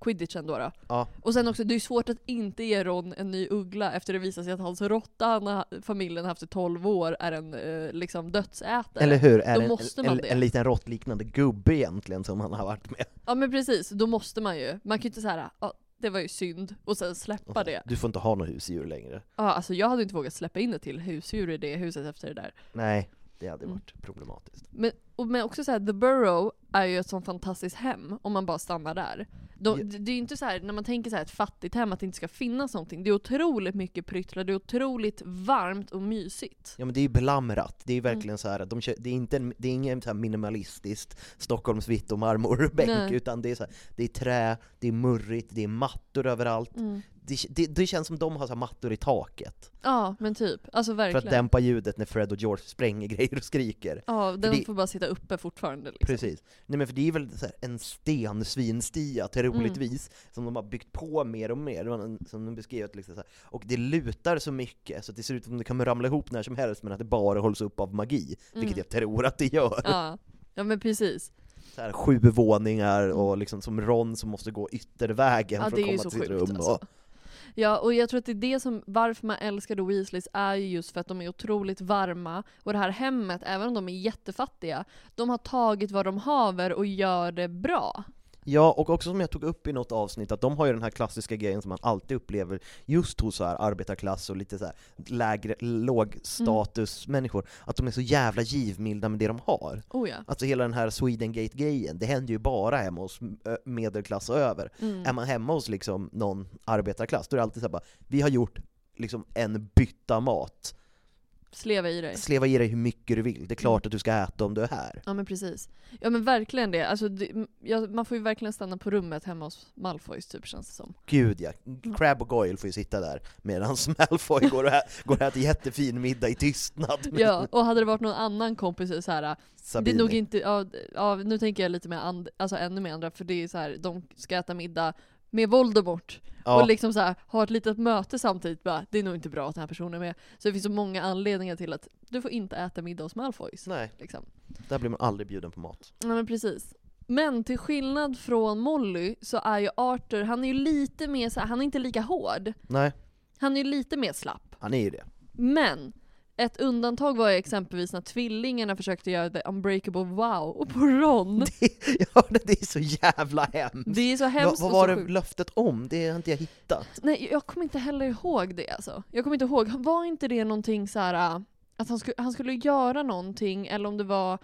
S3: quidditchen då. då.
S2: ja,
S3: Och sen också, det är ju svårt att inte ge Ron en ny uggla efter det visar sig att hans råtta han har- familjen har haft i 12 år är en eh, liksom dödsätare.
S2: eller hur? Är
S3: Då
S2: det en,
S3: måste
S2: en,
S3: man
S2: en,
S3: det.
S2: en liten råttliknande gubbe egentligen som han har varit med.
S3: Ja men precis, då måste man ju. Man kan ju inte säga ja det var ju synd, och sen släppa det.
S2: Du får inte ha något husdjur längre.
S3: Ja, alltså jag hade inte vågat släppa in det till husdjur i det huset efter det där.
S2: Nej, det hade
S3: Mm.
S2: varit problematiskt.
S3: Men, och, men också såhär, The Burrow är ju ett sånt fantastiskt hem om man bara stannar där. De,
S2: Ja.
S3: det, det är ju inte så här, när man tänker så här ett fattigt hem, att det inte ska finnas någonting. Det är otroligt mycket pryttlar, det är otroligt varmt och mysigt.
S2: Ja men det är ju belamrat, det är ju
S3: Mm.
S2: verkligen så här att de kör, det är inte en, det är ingen så här minimalistiskt Stockholms vitt och marmorbänk
S3: Nej.
S2: utan det är så här, det är trä, det är murrigt, det är mattor överallt.
S3: Mm.
S2: Det, det, det känns som de har så här mattor i taket
S3: Ja men typ, alltså
S2: för att
S3: verkligen.
S2: dämpa ljudet när Fred och George spränger grejer och skriker.
S3: ja, den
S2: det-
S3: får bara sitta uppe fortfarande liksom.
S2: Precis. Nej men för det är väl så här, en stensvinstia, till
S3: Mm.
S2: roligtvis, som de har byggt på mer och mer, Det var en- som de beskrev att liksom så här. Och det lutar så mycket så att det ser ut som det kan ramla ihop när som helst, men att det bara hålls upp av magi, vilket jag tror att det gör.
S3: Mm. Ja. ja, men precis.
S2: Så här, sju våningar och liksom som Ron som måste gå yttervägen
S3: Ja,
S2: för
S3: det
S2: att
S3: är ju
S2: komma
S3: så
S2: till sitt
S3: sjukt
S2: rum.
S3: alltså.
S2: Och,
S3: Ja, och jag tror att det är det som, varför man älskar då Weasleys är ju just för att de är otroligt varma. Och det här hemmet, även om de är jättefattiga, de har tagit vad de haver och gör det bra.
S2: Ja, och också som jag tog upp i något avsnitt, att de har ju den här klassiska grejen som man alltid upplever just hos så här arbetarklass och lite så här lägre, lågstatusmänniskor, att de är så jävla givmilda med det de har.
S3: Oh ja.
S2: Alltså hela den här Swedengate-grejen, det händer ju bara hemma hos ö, medelklass och över. Är man hemma hos liksom någon arbetarklass, då är det alltid så här bara, vi har gjort liksom en bytta mat.
S3: Sleva i dig.
S2: Sleva i dig hur mycket du vill, det är klart att du ska äta om du är här.
S3: Ja men precis. Ja men verkligen det. Alltså, det m- ja, man får ju verkligen stanna på rummet hemma hos Malfoys typ känns det som.
S2: Gud ja, Crab och Goyle får ju sitta där medan <laughs> Malfoy går och, ä- går och äter jättefin middag i tystnad. med
S3: Ja, och hade det varit någon annan kompis så här, "Ah, det är
S2: Sabini.
S3: nog inte, ja, d- ja, nu tänker jag lite mer, and, alltså ännu mer andra, för det är så här, de ska äta middag med Voldemort.
S2: Ja.
S3: Och liksom så här, ha ett litet möte samtidigt bara, det är nog inte bra att den här personen är med. Så det finns så många anledningar till att du får inte äta middag hos Malfoys.
S2: Nej,
S3: Liksom.
S2: där blir man aldrig bjuden på mat.
S3: Ja men precis. Men till skillnad från Molly så är ju Arthur, han är ju lite mer så här, han är inte lika hård.
S2: Nej,
S3: Han är ju lite mer slapp.
S2: han är ju det. <laughs>
S3: Men ett undantag var ju exempelvis när tvillingarna försökte göra the unbreakable wow <laughs> på Ron.
S2: ja, det är så jävla hemskt.
S3: Det är så
S2: Va,
S3: hemskt
S2: vad
S3: och
S2: var
S3: så
S2: det
S3: sjukt.
S2: löftet om? Det har inte jag hittat.
S3: Nej, jag kommer inte heller ihåg det alltså. Jag kommer inte ihåg, var inte det någonting så här äh, att han skulle, han skulle göra någonting eller om det var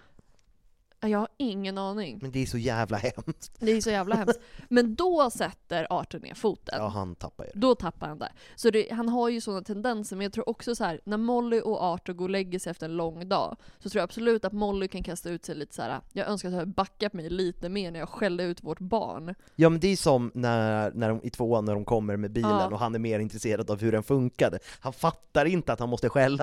S3: Ja, jag har ingen aning.
S2: Men det är så jävla hemskt.
S3: Det är så
S2: <laughs>
S3: jävla hemskt. Men då sätter Arthur ner foten.
S2: Ja, han tappar ju det.
S3: Då tappar han det. Så det, han har ju sådana tendenser, men jag tror också så här: när Molly och Arthur går och lägger sig efter en lång dag, så tror jag absolut att Molly kan kasta ut sig lite så här. jag önskar att jag hade backat mig lite mer när jag skällde ut vårt barn.
S2: Ja men det är som när, när de, i tvåan när de kommer med bilen
S3: Ja.
S2: och han är mer intresserad av hur den funkade. Han fattar inte att han måste skälla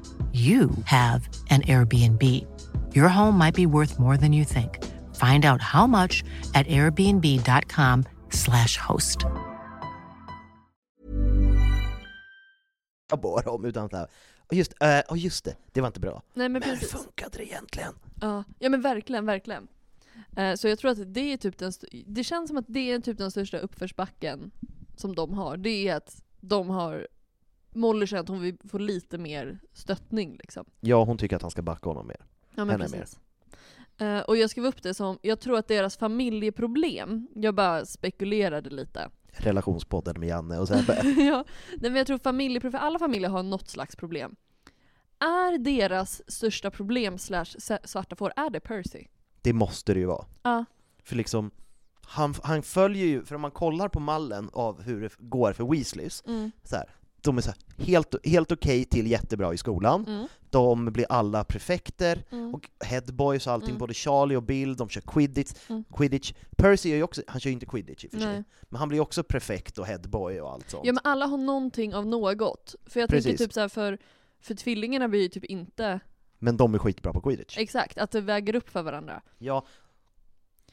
S5: you have an Airbnb. Your home might be worth more than you think. Find out how much at airbnb.com/slash host.
S2: på dem, utan så här, "Åh, just, eh, åh, just det, det var inte bra.
S3: Nej men,
S2: Men hur
S3: precis.
S2: funkade det egentligen?
S3: Ja, ja men verkligen, verkligen. Eh, Så jag tror att det är typ den, st- det känns som att det är typ den största uppförsbacken som de har. Det är att de har, Molly känner att hon vill få lite mer stöttning liksom.
S2: Ja, hon tycker att han ska backa honom mer.
S3: Ja men
S2: Henne mer.
S3: precis. Eh, och jag skrev upp det som, jag tror att deras familjeproblem, jag bara spekulerade lite. <laughs>
S2: Relationspodden med Janne och Sebbe.
S3: ja, nej, men jag tror familjeproblem, för alla familjer har något slags problem. Är deras största problem slash s- svarta får, är det Percy?
S2: det måste det ju vara.
S3: Ja.
S2: För liksom, han, han följer ju, för om man kollar på mallen av hur det f- går för Weasleys,
S3: Mm.
S2: så här, de är så här, helt, helt okej till jättebra i skolan,
S3: Mm.
S2: de blir alla prefekter, och headboys och allting,
S3: Mm.
S2: både Charlie och Bill, de kör quidditch, quidditch. Percy är ju också, han kör ju inte quidditch i och för sig,
S3: Nej.
S2: men han blir ju också prefekt och headboy och allt sånt.
S3: Ja men alla har någonting av något. För jag
S2: Precis.
S3: tänker typ så här för, för tvillingarna blir ju typ inte,
S2: Men de är skitbra på quidditch.
S3: exakt, att det väger upp för varandra.
S2: Ja.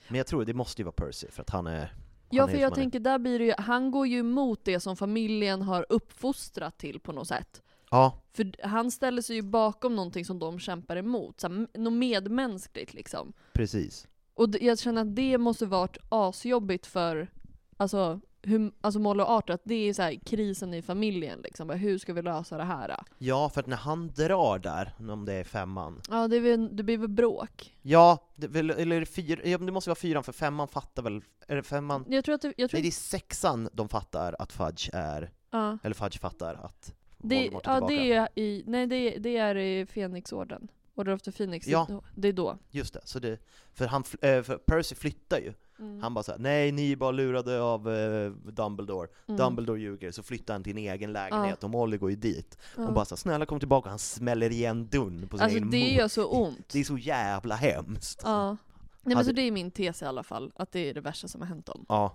S2: Men jag tror det måste ju vara Percy, för att han är... Han är
S3: Ja för
S2: som
S3: jag
S2: han är.
S3: tänker där blir det ju, han går ju emot det som familjen har uppfostrat till på något sätt.
S2: Ja.
S3: För han ställer sig ju bakom någonting som de kämpar emot, så här, m- något medmänskligt liksom.
S2: Precis.
S3: Och d- jag känner att det måste varit asjobbigt för alltså, hur, alltså Molle och Arthur, att det är så här, krisen i familjen liksom. Bara, Hur ska vi lösa det här? då?
S2: Ja, för att när han drar där, om det är femman.
S3: Ja, det, blir- det blir väl bråk.
S2: Ja, det, väl- eller är det fyra, ja, men det måste vara fyran för femman fattar väl, är det femman?
S3: Jag tror att det, jag tror
S2: Nej, det är sexan de fattar att Fudge är,
S3: Ja.
S2: eller Fudge fattar att
S3: det,
S2: Voldemort är
S3: ja,
S2: tillbaka.
S3: det är i, nej det, är- det är i Fenixorden. Order of the Phoenix, det-
S2: Ja.
S3: det är då.
S2: Just det, så det, för, han, fl- eh, för Percy flyttar ju.
S3: Mm.
S2: Han bara såhär, nej ni är bara lurade av eh, Dumbledore.
S3: Mm.
S2: Dumbledore ljuger, så flyttar han till en egen lägenhet och Molly går ju dit.
S3: Ja.
S2: Hon bara såhär, snälla kom tillbaka, han smäller igen dörren på sin
S3: Alltså
S2: egen
S3: det
S2: mor.
S3: gör så ont.
S2: Det är Alltså- så jävla hemskt.
S3: Ja. Nej men
S2: Hade-
S3: så det är min tes i alla fall, att det är det värsta som har hänt dem.
S2: Ja,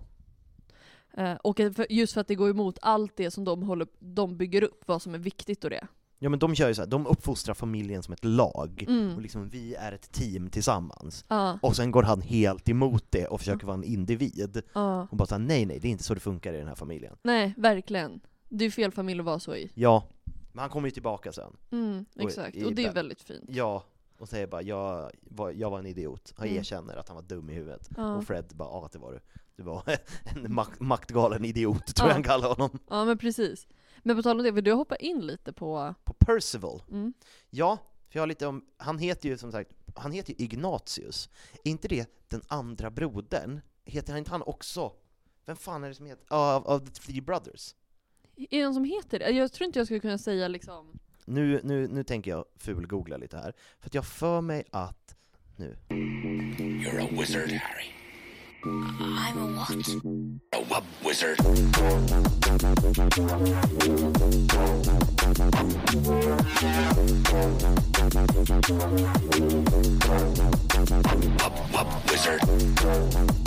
S3: Eh, och för, just för att det går emot allt det som de, håller, de bygger upp, vad som är viktigt och det.
S2: Ja men de kör ju så här, de uppfostrar familjen som ett lag,
S3: Mm.
S2: och liksom vi är ett team tillsammans.
S3: Ja.
S2: Och sen går han helt emot det och försöker vara en individ.
S3: Ja.
S2: Och bara såhär, nej nej, det är inte så det funkar i den här familjen.
S3: Nej, verkligen. Det är ju fel familj att vara så i.
S2: Ja, men han kommer ju tillbaka sen.
S3: Mm,
S2: Och i-
S3: exakt.
S2: i
S3: Och det är
S2: den-
S3: väldigt fint.
S2: Ja, och säger bara, jag var, jag var en idiot. Han
S3: Mm.
S2: erkänner att han var dum i huvudet.
S3: Ja.
S2: Och Fred bara, ja det var du. Du var <laughs> en mak- maktgalen idiot, tror jag
S3: Ja.
S2: han kallar honom.
S3: Ja men precis. Men på tal om det, vill du hoppa in lite på...
S2: På Percival.
S3: Mm.
S2: Ja, för jag har lite om, han heter ju som sagt, han heter ju Ignatius. Är inte det den andra brodern? Heter han inte han också? Vem fan är det som heter, ja, av, av the three brothers?
S3: Är det någon som heter det? Jag tror inte jag skulle kunna säga liksom...
S2: Nu, nu, nu tänker jag fulgoogla lite här, för att jag för mig att, nu.
S6: You're a wizard, Harry.
S7: I'm a what?
S6: A wub wizard. Wub wub wizard.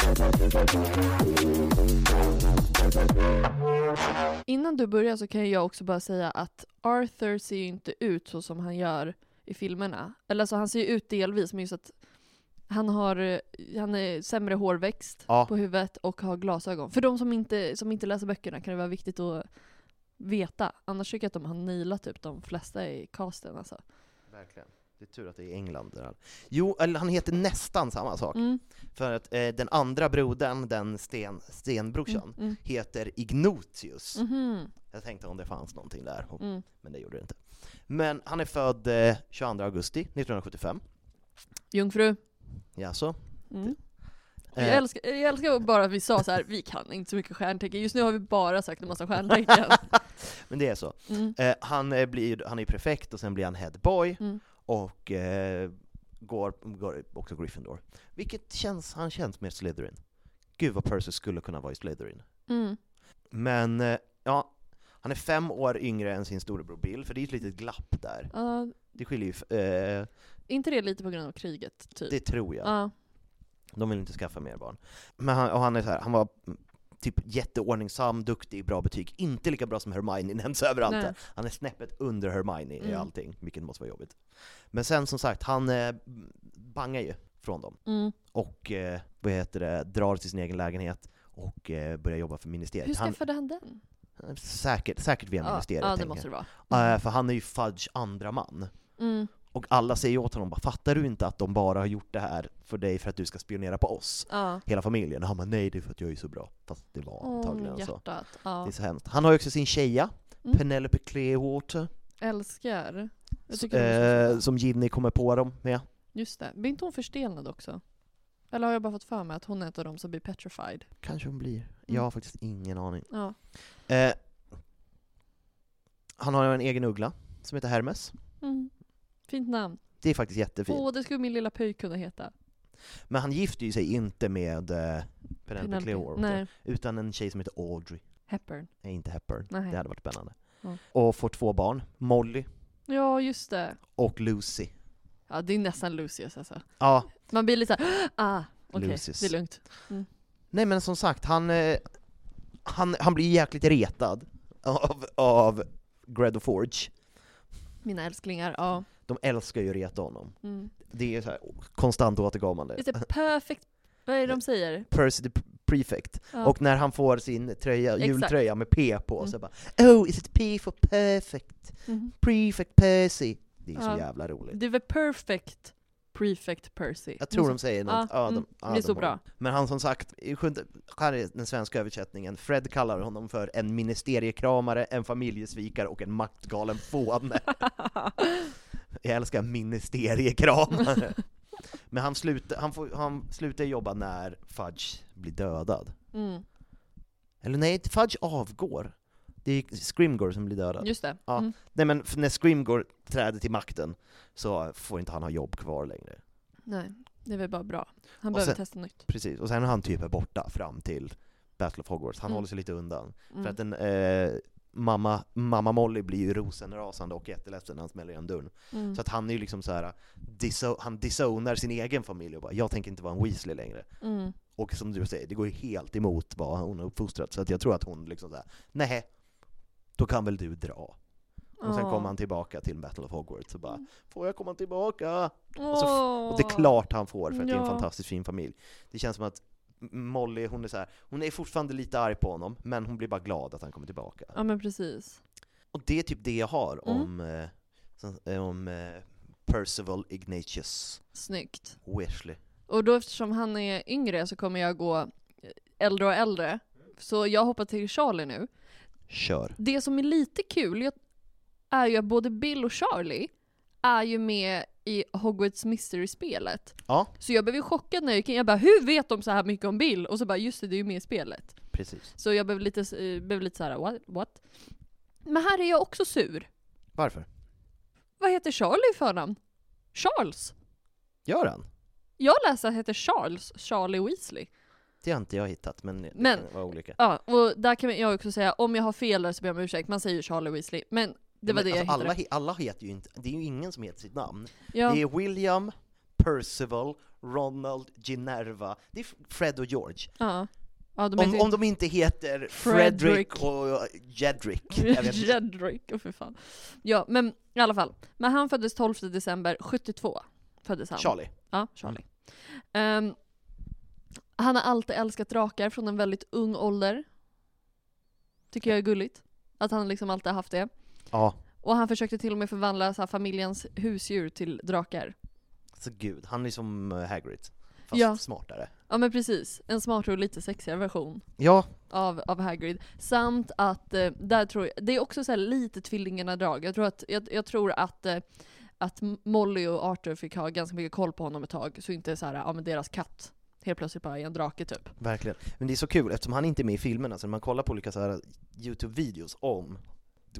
S3: Innan du börjar så kan jag också bara säga att Arthur ser ju inte ut så som han gör i filmerna. Eller alltså han ser ju ut delvis, men just att han har eh, han är sämre hårväxt
S2: Ja.
S3: på huvudet och har glasögon. För de som inte, som inte läser böckerna kan det vara viktigt att veta. Annars tycker jag att de har nailat typ de flesta i casten alltså.
S2: Verkligen. Det är tur att det är England där. han- Jo, eller han heter nästan samma sak.
S3: Mm.
S2: För att eh, den andra brodern, den sten, stenbrorsan,
S3: Mm, mm.
S2: heter Ignotius.
S3: Mhm.
S2: Jag tänkte om det fanns någonting där, och-
S3: Mm.
S2: men det gjorde det inte. Men han är född eh, 22 augusti 1975.
S3: Jungfru.
S2: Jaså?
S3: Mm.
S2: Eh,
S3: Jag, älskar, jag älskar bara att vi sa så här, vi kan inte så mycket stjärntecken. Just nu har vi bara sagt en
S2: <laughs>
S3: massa stjärntecken.
S2: men det är så.
S3: Mm.
S2: Eh, han, eh, blir, han är ju prefekt och sen blir han headboy
S3: Mm.
S2: och eh, går, går också Gryffindor. Vilket känns, han känns mer Slytherin. Gud vad Percy skulle kunna vara i Slytherin.
S3: Mm.
S2: Men eh, ja, han är fem år yngre än sin storebror Bill, för det är ju ett litet glapp där.
S3: Ja,
S2: Det skiljer ju, f- eh,
S3: inte det lite på grund av kriget, typ?
S2: det tror jag.
S3: Ja.
S2: De vill inte skaffa mer barn. Men han, och han är så här, han var mm, typ jätteordningsam, duktig, bra betyg. Inte lika bra som Hermione <laughs> nämns överallt
S3: Nej.
S2: där. Han är snäppet under Hermione i
S3: Mm.
S2: allting, vilket måste vara jobbigt. Men sen som sagt, han eh, bangar ju från dem.
S3: Mm.
S2: Och, eh, vad heter det, drar till sin egen lägenhet och eh, börjar jobba för ministeriet.
S3: Hur
S2: Han-
S3: skaffade han den?
S2: Säkert, säkert via
S3: Ja,
S2: ministeriet
S3: ja det
S2: tänker
S3: måste det vara.
S2: jag. Eh, För han är ju Fudge andra man.
S3: Mm.
S2: Och alla säger åt honom bara, fattar du inte att de bara har gjort det här för dig för att du ska spionera på oss?
S3: Ja.
S2: Hela familjen. Och han bara, nej det är för att jag är så bra. Fast det var antagligen
S3: Åh,
S2: så.
S3: hjärtat. Ja.
S2: Det är så hemskt. Han har ju också sin tjeja,
S3: Mm.
S2: Penelope Clearwater,
S3: Älskar. Jag tycker hon är så
S2: eh,
S3: fin.
S2: som Ginny kommer på dem med.
S3: Just det. Blir inte hon förstelnad också? Eller har jag bara fått för mig att hon är ett av dem som blir petrified?
S2: Kanske hon blir. Jag
S3: Mm.
S2: har faktiskt ingen aning.
S3: Ja.
S2: Eh, han har en egen uggla som heter Hermes.
S3: Mm. Fint namn.
S2: Det är faktiskt jättefint.
S3: Åh, det skulle min lilla pöjk kunna heta.
S2: Men han gifter ju sig inte med eh, Penelope,
S3: Penelope,
S2: Clearwater,
S3: nej.
S2: utan en tjej som heter Audrey.
S3: Hepburn.
S2: Nej, inte Hepburn.
S3: Nej.
S2: Det hade varit spännande.
S3: Ja.
S2: Och får två barn, Molly
S3: Ja, just det.
S2: och Lucy.
S3: Ja, det är nästan Lucius alltså.
S2: Ja,
S3: Man blir lite såhär, <gasps> ah, okej,
S2: Lucius.
S3: det är lugnt. Mm.
S2: nej men som sagt, han, eh, han, han blir jäkligt retad av, av Gred och Forge.
S3: Mina älsklingar, ja.
S2: De älskar ju att reta honom.
S3: Mm.
S2: Det är så här, konstant återkommande.
S3: typ- Just det, perfect, vad är det de säger?
S2: Percy the prefect.
S3: Ja.
S2: Och när han får sin tröja,
S3: Exakt.
S2: jultröja med P på,
S3: Mm.
S2: så bara Oh, is it P for perfect?
S3: Mhm.
S2: Prefect Percy. Det är så
S3: Ja.
S2: jävla roligt.
S3: Det är väl perfect prefect Percy.
S2: Jag tror de säger något. Ja, de,
S3: mm.
S2: ja,
S3: det är
S2: de
S3: så
S2: har-
S3: bra.
S2: Men han som sagt, i sjunde- här är den svenska översättningen, Fred kallar honom för en ministeriekramare, en familjesvikare och en maktgalen fåne. Jag älskar ministeriekramare. Men han, slutar, han, får, han slutar jobba när Fudge blir dödad.
S3: <laughs> Mm.
S2: Eller nej, Fudge avgår. Det är Scrimgore som blir dödad.
S3: Just det.
S2: Ja.
S3: Mm.
S2: Nej men f- när Scrimgore träder till makten så får inte han ha jobb kvar längre.
S3: Nej, det är väl bara bra. Han
S2: Och
S3: behöver
S2: sen-
S3: testa nytt.
S2: Precis, och sen är han typ borta fram till Battle of Hogwarts. Han
S3: Mm.
S2: håller sig lite undan.
S3: Mm.
S2: För att den, eh, mamma, mamma Molly blir ju rosenrasande och jätteledsen när han smäller igen dörren.
S3: Mm.
S2: Så att han är ju liksom så här, diso- han disownar sin egen familj och bara 'Jag tänker inte vara en Weasley längre'
S3: Mm.
S2: Och som du säger, det går ju helt emot vad hon har uppfostrat. Så att jag tror att hon liksom såhär, nej, då kan väl du dra. Och sen
S3: Ja. Mm.
S2: kommer han tillbaka till Battle of Hogwarts och bara, får jag komma tillbaka?
S3: Åh.
S2: Och, så, f- och det är klart han får för att det är en
S3: Ja.
S2: fantastiskt fin familj. Det känns som att M- Molly, hon är så här, hon är fortfarande lite arg på honom, men hon blir bara glad att han kommer tillbaka.
S3: Ja men precis.
S2: Och det är typ det jag har
S3: Mm.
S2: om, eh, som- eh, om eh, Percival Ignatius
S3: Snyggt.
S2: Weasley.
S3: Och då eftersom han är yngre så kommer jag gå äldre och äldre. Så jag hoppar till Charlie nu.
S2: Kör.
S3: Det som är lite kul jag- är ju att både Bill och Charlie är ju med i Hogwarts Mystery-spelet.
S2: Ja,
S3: Så jag blev ju chockad när jag gick in. Jag bara hur vet de så här mycket om Bill? Och så bara just det, det är ju med i spelet.
S2: precis.
S3: Så jag blev lite, eh, blev lite så här what, what? Men här är jag också sur.
S2: Varför?
S3: Vad heter Charlie i förnamn? Charles?
S2: Gör han?
S3: Jag läser att han heter Charles, Charlie Weasley.
S2: Det har inte jag hittat, men det
S3: Men-
S2: kan vara olika.
S3: Ja, och där kan jag också säga, om jag har fel där så ber jag om ursäkt, man säger Charlie Weasley. Men det var
S2: Men
S3: det jag
S2: alltså, alla,
S3: hittade.
S2: he- alla heter ju inte, det är ju ingen som heter sitt namn.
S3: Ja.
S2: Det är William, Percival, Ronald, Ginerva, det är F- Fred och George.
S3: Ja. Ja, de
S2: om,
S3: heter
S2: om de inte heter
S3: Fredrik.
S2: Fredrik och
S3: <laughs>
S2: Jedrick. Jag vet inte.
S3: Jedrick, och för fan. Ja, men i alla fall. Men han föddes 12 december 72. Föddes han.
S2: Charlie.
S3: Ja, Charlie. Ehm, han har alltid älskat drakar från en väldigt ung ålder. Tycker jag är gulligt. Att han liksom alltid har haft det.
S2: Ja.
S3: Och han försökte till och med förvandla så här, familjens husdjur till drakar.
S2: Så gud, han är som eh, Hagrid. Fast
S3: Ja.
S2: smartare.
S3: Ja men precis, en smartare och lite sexigare version
S2: Ja,
S3: av, av Hagrid. Samt att, eh, där tror jag, det är också så här lite tvillingarna-drag. Jag tror att, jag, jag tror att, eh, att Molly och Arthur fick ha ganska mycket koll på honom ett tag, så inte så här, ja men deras katt helt plötsligt bara är en drake typ.
S2: verkligen. Men det är så kul eftersom han inte är med i filmerna, så när man kollar på olika så här YouTube-videos om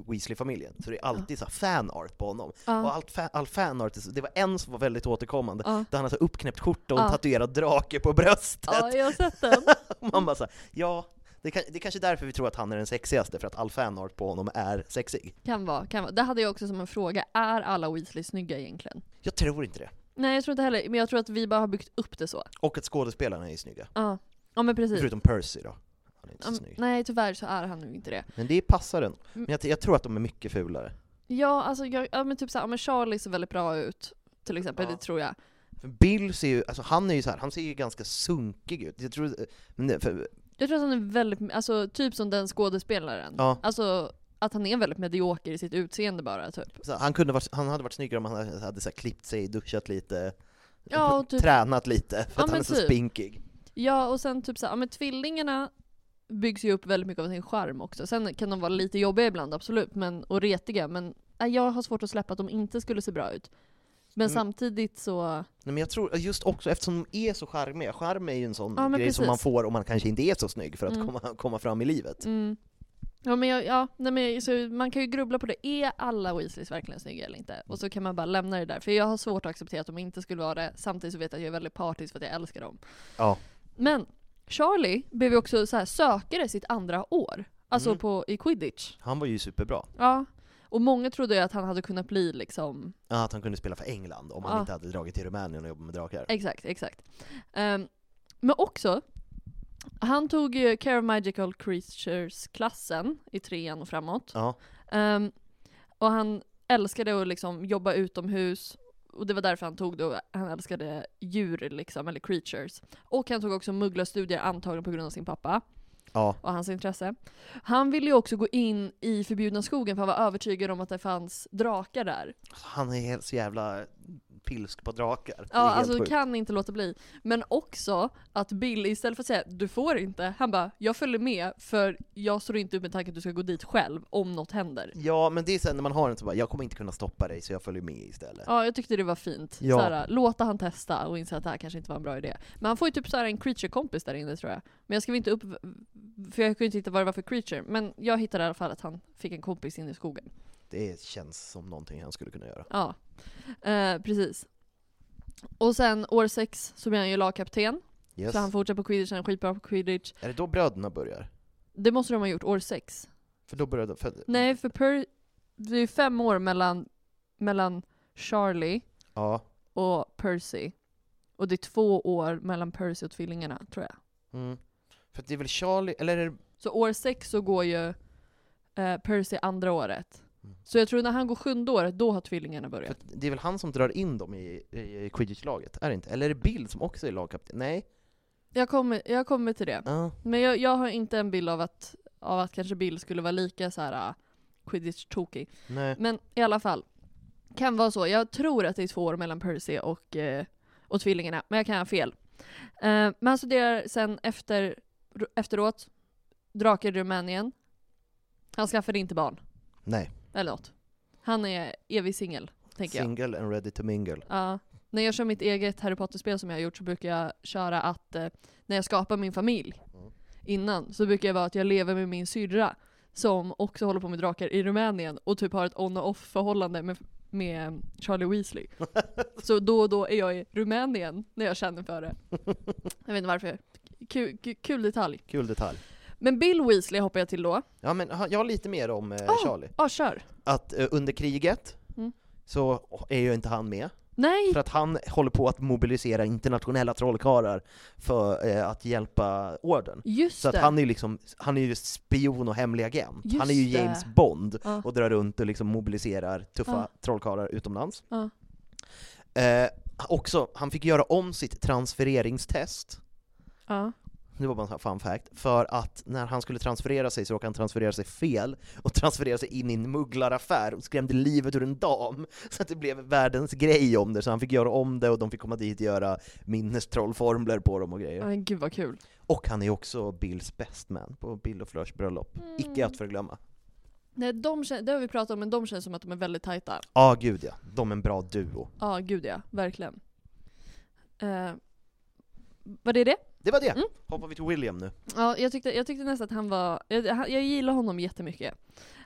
S2: Weasley-familjen, så det är alltid så här fanart på honom.
S3: Ja.
S2: Och allt fa- all fanart, är så- det var en som var väldigt återkommande,
S3: Ja.
S2: där han har så uppknäppt skjorta och en
S3: Ja.
S2: tatuerad drake på bröstet.
S3: <laughs> Ja, jag har sett den.
S2: Och <laughs> man bara så här, ja, det, kan, det är kanske är därför vi tror att han är den sexigaste, för att all fanart på honom är sexig.
S3: Kan vara, kan vara. Det hade jag också som en fråga, är alla Weasley snygga egentligen?
S2: Jag tror inte det.
S3: Nej jag tror inte heller, men jag tror att vi bara har byggt upp det så.
S2: Och att skådespelarna är snygga.
S3: Ja, ja men precis.
S2: Förutom Percy då. Han är inte så
S3: Ja, men-
S2: snygg.
S3: nej Mm. tyvärr så är han ju inte det.
S2: Men det passar den. Men jag, jag tror att de är mycket fulare.
S3: Ja, alltså jag, ja, men typ såhär, ja, men Charlie ser väldigt bra ut till exempel,
S2: Ja.
S3: det tror jag.
S2: För Bill ser ju, alltså han är ju så här, han ser ju ganska sunkig ut. Jag tror, eh, men det, för,
S3: Jag tror att han är väldigt, alltså typ som den skådespelaren.
S2: Ja.
S3: Alltså att han är väldigt medioker i sitt utseende bara typ.
S2: så här, han, kunde varit, han hade varit snyggare om han hade, hade så här, klippt sig, duschat lite,
S3: Ja, och typ-
S2: tränat lite, för
S3: Ja,
S2: att han
S3: men
S2: är så
S3: typ.
S2: spinkig.
S3: Ja och sen typ såhär, ja men tvillingarna byggs ju upp väldigt mycket av sin charm också. Sen kan de vara lite jobbiga ibland absolut, men, och retiga men nej, jag har svårt att släppa att de inte skulle se bra ut. Men
S2: Mm.
S3: samtidigt så,
S2: Nej, men jag tror just också, eftersom de är så charmiga, charm är ju en sån
S3: Ja, men
S2: grej som
S3: precis.
S2: man får om man kanske inte är så snygg för att
S3: Mm.
S2: komma, komma fram i livet.
S3: mm. Ja men, jag, ja, nej, men så man kan ju grubbla på det, är alla Weasleys verkligen snygga eller inte? Och så kan man bara lämna det där, för jag har svårt att acceptera att de inte skulle vara det, samtidigt så vet jag att jag är väldigt partisk för att jag älskar dem.
S2: Ja.
S3: Men Charlie blev ju också så här sökare sitt andra år. Alltså på, i quidditch.
S2: Han var ju superbra.
S3: Ja. Och många trodde ju att han hade kunnat bli liksom,
S2: Ja, Att han kunde spela för England om han
S3: Ja.
S2: inte hade dragit till Rumänien och jobbat med drakar.
S3: exakt, exakt. Ehm, men också, han tog ju Care of Magical Creatures-klassen i trean och framåt.
S2: Ja.
S3: Ehm, och han älskade att liksom jobba utomhus Och det var därför han tog det, och han älskade djur liksom, eller creatures. Och han tog också mugglarstudier antagligen på grund av sin pappa
S2: Ja.
S3: och hans intresse. Han ville ju också gå in i förbjudna skogen för han var övertygad om att det fanns drakar där.
S2: Alltså, Han är helt så jävla pilsk på drakar. Det
S3: Ja,
S2: är helt
S3: alltså
S2: sjukt.
S3: kan inte låta bli. Men också att Bill istället för att säga du får inte, han bara jag följer med för jag står inte upp med tanken att du ska gå dit själv om något händer.
S2: Ja, men det är sen när man har en så bara, jag kommer inte kunna stoppa dig så jag följer med istället.
S3: Ja, jag tyckte det var fint.
S2: Ja.
S3: Såhär, låta han testa och inse att det här kanske inte var en bra idé. Men han får ju typ såhär en creature-kompis där inne tror jag. Men jag skrev inte upp, för jag kunde inte hitta vad det var för creature. Men jag hittade i alla fall att han fick en kompis inne i skogen.
S2: Det känns som någonting han skulle kunna göra.
S3: Ja, eh, precis. Och sen år sex så blir han ju lagkapten.
S2: Yes.
S3: Så han fortsätter på quidditch, han är skitbra på quidditch.
S2: Är det då bröderna börjar?
S3: Det måste de ha gjort år sex.
S2: För då började för,
S3: Nej, för per, det är ju fem år mellan, mellan Charlie
S2: Ja.
S3: och Percy. Och det är två år mellan Percy och tvillingarna, tror jag.
S2: Mm. För att det är väl Charlie, eller är det...
S3: Så år sex så går ju eh, Percy andra året. Så jag tror när han går sjunde året, då har tvillingarna
S2: För
S3: börjat.
S2: att det är väl han som drar in dem i, i, i Quidditch-laget? Är det inte? Eller är det Bill som också är lagkapten? Nej?
S3: Jag kommer, jag kommer till det.
S2: Ja.
S3: Men jag, jag har inte en bild av att, av att kanske Bill skulle vara lika så här uh, quidditch-tokig.
S2: Nej.
S3: Men i alla fall. Kan vara så. Jag tror att det är två år mellan Percy och, eh, och tvillingarna, men jag kan ha fel. Eh, men han studerar sen efter, efteråt, drakar i Rumänien. Han skaffade inte barn,
S2: Nej.
S3: eller något. Han är evig singel, tänker jag.
S2: Single and ready to mingle.
S3: Ja. När jag kör mitt eget Harry Potter-spel som jag har gjort så brukar jag köra att eh, när jag skapar min familj
S2: Mm.
S3: innan så brukar jag vara att jag lever med min syrra som också håller på med drakar i Rumänien och typ har ett on och off förhållande med, med Charlie Weasley.
S2: <laughs>
S3: så då och då är jag i Rumänien när jag känner för det. Jag vet inte varför. Kul, kul, kul detalj.
S2: Kul detalj.
S3: Men Bill Weasley hoppar jag till då.
S2: Ja, men ha- jag har lite mer om eh, Charlie.
S3: Ja, kör.
S2: Att eh, under kriget
S3: Ah! Mm.
S2: så är ju inte han med.
S3: Nej!
S2: För att han håller på att mobilisera internationella trollkarlar för eh, att hjälpa orden.
S3: Just
S2: så att
S3: det.
S2: han är ju liksom, han är ju spion och hemlig agent.
S3: Just
S2: han är ju
S3: det.
S2: James Bond
S3: Ja.
S2: och drar runt och liksom mobiliserar tuffa
S3: Ja.
S2: trollkarlar utomlands.
S3: Ja.
S2: Eh, också, han fick göra om sitt transfereringstest,
S3: Ja.
S2: det var bara en sån här fun fact, för att när han skulle transferera sig så råkade han transferera sig fel och transferera sig in i en mugglaraffär och skrämde livet ur en dam. Så att det blev världens grej om det, så han fick göra om det och de fick komma dit och göra minnestrollformler på dem och
S3: Ja,
S2: grejer.
S3: Men gud vad kul.
S2: Och han är också Bills best man på Bill och Fleurs bröllop.
S3: Mm.
S2: Icke att förglömma.
S3: Nej, de, kän- det har vi pratat om, men de känns som att de är väldigt tajta.
S2: Ja, gud ja. De är en bra duo.
S3: Ja, gud ja. Verkligen. Eh, var det det?
S2: Det var det!
S3: Mm.
S2: Hoppar vi till William nu.
S3: Ja, jag tyckte, jag tyckte nästan att han var... Jag, jag jag gillar honom jättemycket.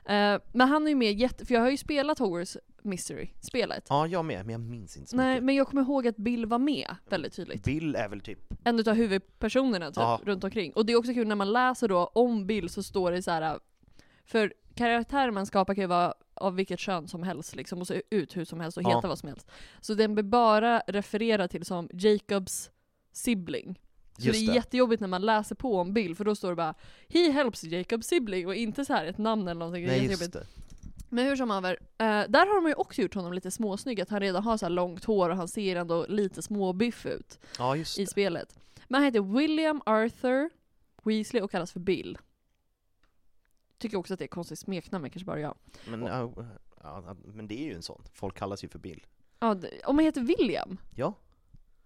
S3: Eh, men han är ju med jätte... För jag har ju spelat Hogwarts Mystery, spelet.
S2: Ja, jag med, men jag minns inte så
S3: Nej,
S2: mycket.
S3: men jag kommer ihåg att Bill var med väldigt tydligt.
S2: Bill är väl typ...
S3: En utav huvudpersonerna typ,
S2: Ja.
S3: runt omkring. Och det är också kul när man läser då om Bill så står det så här. För karaktärer man skapar kan ju vara av vilket kön som helst liksom, och se ut hur som helst och
S8: Ja.
S3: heta vad som helst. Så den blir bara refererad till som Jacobs sibling. Så
S8: Just
S3: det är
S8: det.
S3: jättejobbigt när man läser på om Bill, för då står det bara He helps Jacobs sibling och inte så här ett namn eller någonting. det är
S2: Nej, just
S3: jättejobbigt.
S2: det.
S3: Men hur som haver, eh, där har de ju också gjort honom lite småsnygg, att han redan har så här långt hår och han ser ändå lite småbiff ut
S2: Ja, just
S3: i spelet. Men han heter William Arthur Weasley och kallas för Bill. Tycker också att det är konstigt smeknamn, men kanske bara jag.
S2: Men, ja, ja, men det är ju en sån. Folk kallas ju för Bill.
S3: Ja, d- om han heter William?
S2: Ja,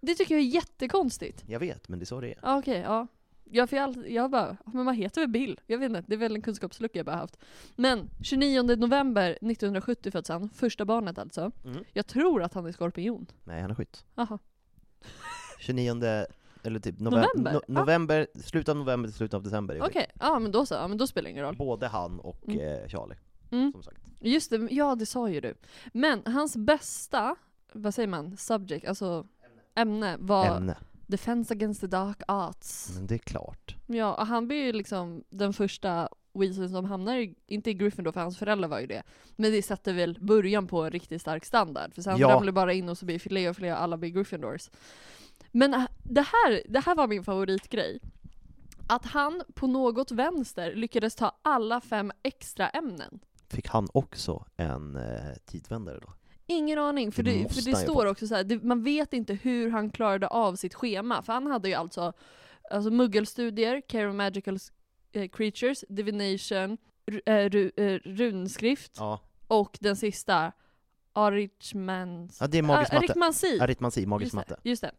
S3: Det tycker jag är jättekonstigt.
S2: jag vet, men det är så det är.
S3: Ja, okej, ja. Jag, för jag, alltid- jag bara, men vad heter väl Bill? Jag vet inte, det är väl en kunskapslucka jag bara haft. Men 29 november 1970 föddes han, första barnet alltså.
S2: Mm.
S3: Jag tror att han är skorpion.
S2: Nej, han är skytt.
S3: Jaha.
S2: 29, eller typ novem-
S3: November?
S2: no-
S3: Ah.
S2: november slutet av november till slutet av december. är
S3: Okej,
S2: skytt.
S3: ja men då så, ja, men då spelar det ingen roll.
S2: Både han och
S3: Mm.
S2: eh, Charlie.
S3: Mm.
S2: Som sagt.
S3: Just det, ja det sa ju du. Men hans bästa, vad säger man, subject, alltså ämne, var
S2: Ämne. Mm.
S3: Defense Against the Dark Arts.
S2: Men det är klart.
S3: Ja, och han blir ju liksom den första Weasley som hamnar, i, inte i Gryffindor för hans föräldrar var ju det, men det sätter väl början på en riktigt stark standard. För sen
S8: Ja.
S3: ramlar det bara in och så blir fler och fler och alla blir Gryffindors. Men äh, det här, det här var min favoritgrej. Att han på något vänster lyckades ta alla fem extra ämnen.
S2: Fick han också en eh, tidvändare då?
S3: Ingen aning, för
S2: Det
S3: det,
S2: måste
S3: för det
S2: han ju
S3: står också så här, det, man vet inte hur han klarade av sitt schema, för han hade ju alltså, alltså muggelstudier, care of magical eh, creatures, divination, ru, eh, ru, eh, runskrift,
S2: Ja.
S3: och den sista, Arichmans...
S2: Ja, det är magisk matte.
S3: Aritmansi.
S2: Aritmansi, magisk
S3: just
S2: matte.
S3: Det, just det.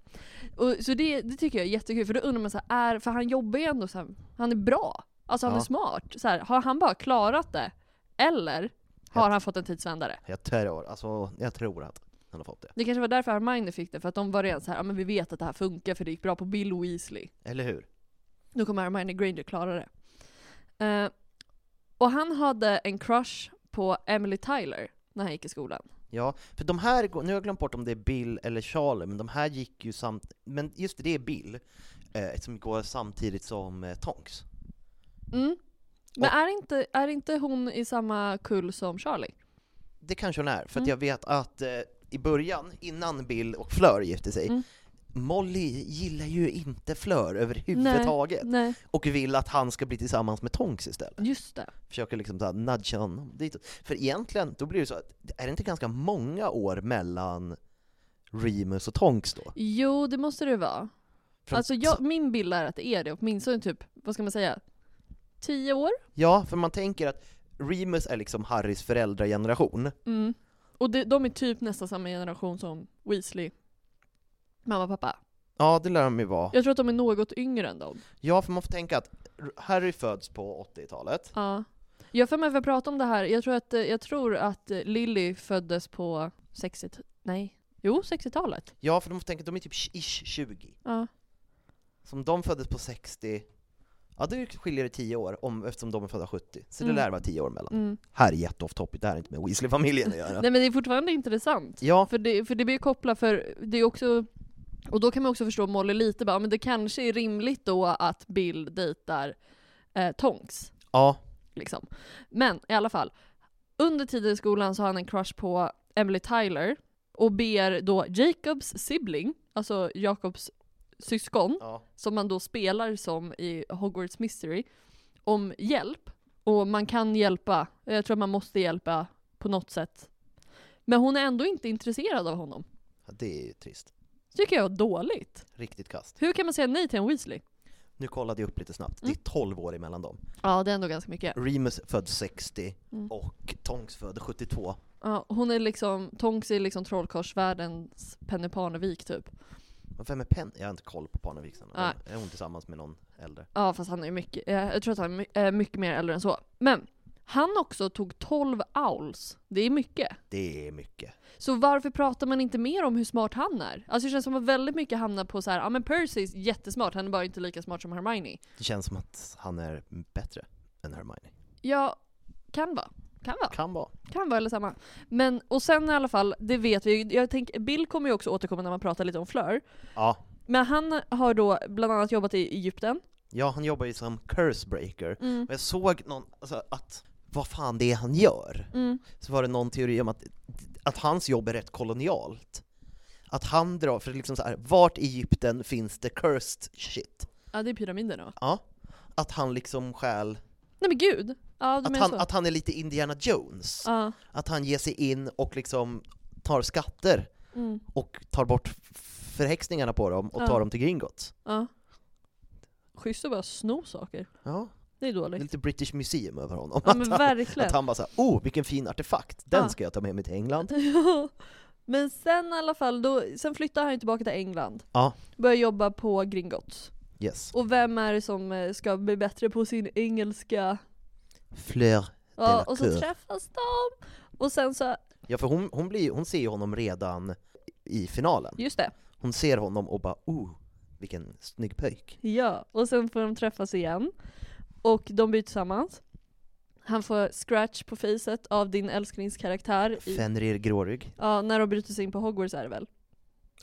S3: Och, så det, det tycker jag är jättekul, för då undrar man så här, är, för han jobbar ju ändå så här, han är bra. Alltså han
S2: Ja.
S3: är smart. Så här, har han bara klarat det? Eller har han fått en tidsvändare?
S2: Jag tror, alltså, jag tror att han har fått det.
S3: Det kanske var därför Hermione fick det, för att de var redan så här, ja men vi vet att det här funkar för det gick bra på Bill Weasley.
S2: Eller hur?
S3: Nu kommer Hermione Granger klara det. Eh, och han hade en crush på Emily Tyler när han gick i skolan.
S2: Ja, för de här, går- nu har jag glömt bort om det är Bill eller Charlie, men de här gick ju samt, men just det, det är Bill, eh, som går samtidigt som eh, Tonks.
S3: Mm. Men är inte, är inte hon i samma kull som Charlie?
S2: Det kanske hon är, för att
S3: Mm.
S2: jag vet att eh, i början, innan Bill och Fleur gifte sig,
S3: Mm.
S2: Molly gillar ju inte Fleur överhuvudtaget
S3: Nej, nej.
S2: och vill att han ska bli tillsammans med Tonks istället.
S3: Just det.
S2: Försöker liksom såhär nudga honom dit. För egentligen, då blir det så att, är det inte ganska många år mellan Remus och Tonks då?
S3: Jo, det måste det vara.
S2: Från-
S3: Alltså jag, min bild är att det är det, åtminstone typ, vad ska man säga, tio år?
S2: Ja, för man tänker att Remus är liksom Harrys föräldrageneration.
S3: Mm. Och det, de är typ nästan samma generation som Weasley, mamma och pappa.
S2: Ja, det lär de ju vara.
S3: Jag tror att de är något yngre än dem.
S2: Ja, för man får tänka att Harry föds på 80-talet.
S3: Ja. Jag har för mig att vi har pratat om det här, jag tror att, eh, jag tror att eh, Lily föddes på 60 nej, jo 60-talet.
S2: Ja, för de får tänka att de är typ ish 20.
S3: Ja.
S2: Som de föddes på 60, ja det skiljer det 10 år om, eftersom de är födda 70. Så det
S3: Mm.
S2: lär vara 10 år mellan.
S3: Mm.
S2: Här är jätte off topic, det här är inte med Weasley-familjen att göra.
S3: <laughs> Nej men det är fortfarande intressant.
S2: Ja.
S3: För det, för det blir ju kopplat för det är också, och då kan man också förstå Molly lite bara, men det kanske är rimligt då att Bill dejtar eh, Tonks.
S2: Ja.
S3: Liksom. Men i alla fall, under tiden i skolan så har han en crush på Emily Tyler och ber då Jacobs sibling, alltså Jakobs syskon,
S2: Ja.
S3: som man då spelar som i Hogwarts Mystery, om hjälp. Och man kan hjälpa, jag tror man måste hjälpa på något sätt. Men hon är ändå inte intresserad av honom.
S2: Ja, det är ju trist.
S3: Det tycker jag är dåligt.
S2: Riktigt kast.
S3: Hur kan man säga nej till en Weasley?
S2: Nu kollade jag upp lite snabbt,
S3: Mm.
S2: det är 12 år emellan dem.
S3: Ja, det är ändå ganska mycket.
S2: Remus född 60
S3: Mm.
S2: och Tonks född 72.
S3: Ja, hon är liksom, Tonks är liksom trollkarlsvärldens Penny Parnevik typ.
S2: Men Vem är Penn? Jag har inte koll på Parneviksen.
S3: Nej.
S2: Är hon tillsammans med någon äldre?
S3: Ja fast han är ju mycket, eh, jag tror att han är my- eh, mycket mer äldre än så. Men han också tog 12 owls. Det är mycket.
S2: Det är mycket.
S3: Så varför pratar man inte mer om hur smart han är? Alltså det känns som att väldigt mycket hamnar på så här, ja men Percy är jättesmart, han är bara inte lika smart som Hermione.
S2: Det känns som att han är bättre än Hermione.
S3: Ja, kan vara. Kan vara.
S2: Kan vara.
S3: Kan vara eller samma. Men, och sen i alla fall, det vet vi ju. Jag tänker, Bill kommer ju också återkomma när man pratar lite om Fleur.
S2: Ja.
S3: Men han har då bland annat jobbat i Egypten.
S2: Ja, han jobbar ju som cursebreaker.
S3: Mm.
S2: Och jag såg någon, alltså att, vad fan det är han gör.
S3: Mm.
S2: Så var det någon teori om att, att hans jobb är rätt kolonialt. Att han drar, för liksom så här, vart i Egypten finns det cursed shit?
S3: Ja det är pyramiderna.
S2: Ja. Att han liksom stjäl,
S3: Nej men gud! Ja du
S2: att
S3: menar
S2: han,
S3: så.
S2: att han är lite Indiana Jones.
S3: Ja.
S2: Att han ger sig in och liksom tar skatter
S3: Mm.
S2: och tar bort f- förhäxningarna på dem och
S3: Ja.
S2: tar dem till Gringotts.
S3: Ja. Schysst att bara sno saker.
S2: Ja.
S3: Det är
S2: Det är
S3: dåligt.
S2: lite British Museum över honom.
S3: Ja,
S2: <laughs>
S3: men
S2: Att han-
S3: verkligen.
S2: Att han bara såhär, oh vilken fin artefakt, den
S3: Ja.
S2: ska jag ta med mig till
S3: <laughs>
S2: England.
S3: Ja. <laughs> men sen i alla fall, då, sen flyttar han ju tillbaka till England.
S2: Ja,
S3: Börjar jobba på Gringotts.
S2: yes.
S3: Och vem är det som eh, ska bli bättre på sin engelska?
S2: Fleur
S3: Ja, och
S2: Delacour.
S3: så träffas de! Och sen så,
S2: Ja för hon, hon, blir, hon ser ju honom redan i finalen.
S3: just det.
S2: Hon ser honom och bara, oh vilken snygg pöjk.
S3: Ja, och sen får de träffas igen. Och de blir tillsammans. Han får scratch på facet av din älsklingskaraktär. I,
S2: Fenrir Grårygg.
S3: ja, när de bryter sig in på Hogwarts är det väl?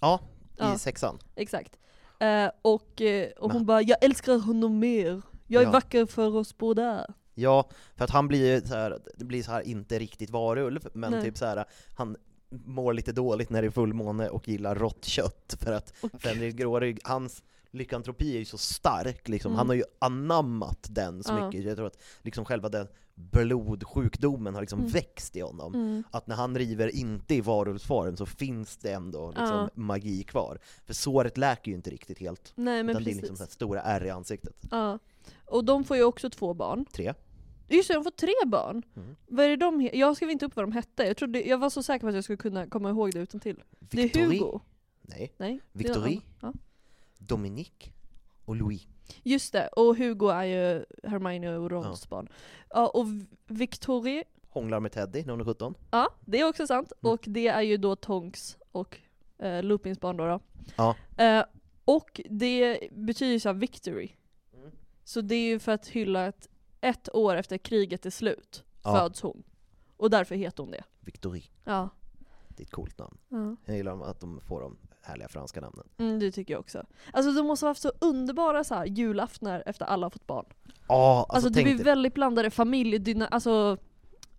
S2: Ja, i
S3: Ja.
S2: sexan.
S3: Exakt. Eh, och eh, och hon bara 'Jag älskar honom mer, jag är
S2: Ja.
S3: vacker för oss båda'
S2: Ja, för att han blir ju så här, det blir så här inte riktigt varulv, men
S3: Nej.
S2: typ så här, han mår lite dåligt när det är fullmåne och gillar rått kött för att Fenrir Grårygg, hans lyckantropi är ju så stark liksom,
S8: Mm.
S2: han har ju anammat den så
S8: Ja.
S2: mycket, jag tror att liksom själva den blodsjukdomen har liksom
S8: Mm.
S2: växt i honom.
S8: Mm.
S2: Att när han river inte i varulvsform så finns det ändå liksom
S3: Ja.
S2: magi kvar. För såret läker ju inte riktigt helt.
S3: Nej, men
S2: utan det är liksom
S3: precis.
S2: så här stora ärr i ansiktet.
S3: Ja. Och de får ju också två barn.
S2: Tre.
S3: Just det, de får tre barn!
S2: Mm.
S3: Vad är det de he- Jag skrev inte upp vad de hette, jag, trodde, jag var så säker på att jag skulle kunna komma ihåg det utan till. Det är
S2: Victorie.
S3: Hugo.
S2: Nej.
S3: Nej. det är någon
S2: Victorie,
S3: annan. Ja.
S2: Dominique och Louis.
S3: Just det, och Hugo är ju Hermione och Rons barn. Ja, och V- Victorie,
S2: Hånglar med Teddy när hon är 17.
S3: ja det är också sant.
S2: Mm.
S3: Och det är ju då Tonks och eh, Lupins barn då. då.
S2: Ja.
S3: Eh, och det betyder ju såhär victory.
S2: Mm.
S3: Så det är ju för att hylla att ett år efter kriget är slut
S2: Ja.
S3: föds hon. Och därför heter hon det.
S2: Victorie.
S3: Ja.
S2: Det är ett coolt namn.
S3: Ja.
S2: Jag gillar att de får de härliga franska namnen.
S3: Mm, det tycker jag också. Alltså de måste ha haft så underbara så här, julaftnar efter alla har fått barn.
S2: Ja, alltså,
S3: Alltså, det
S2: tänk
S3: blir
S2: dig.
S3: väldigt blandade familjedynamiker, alltså,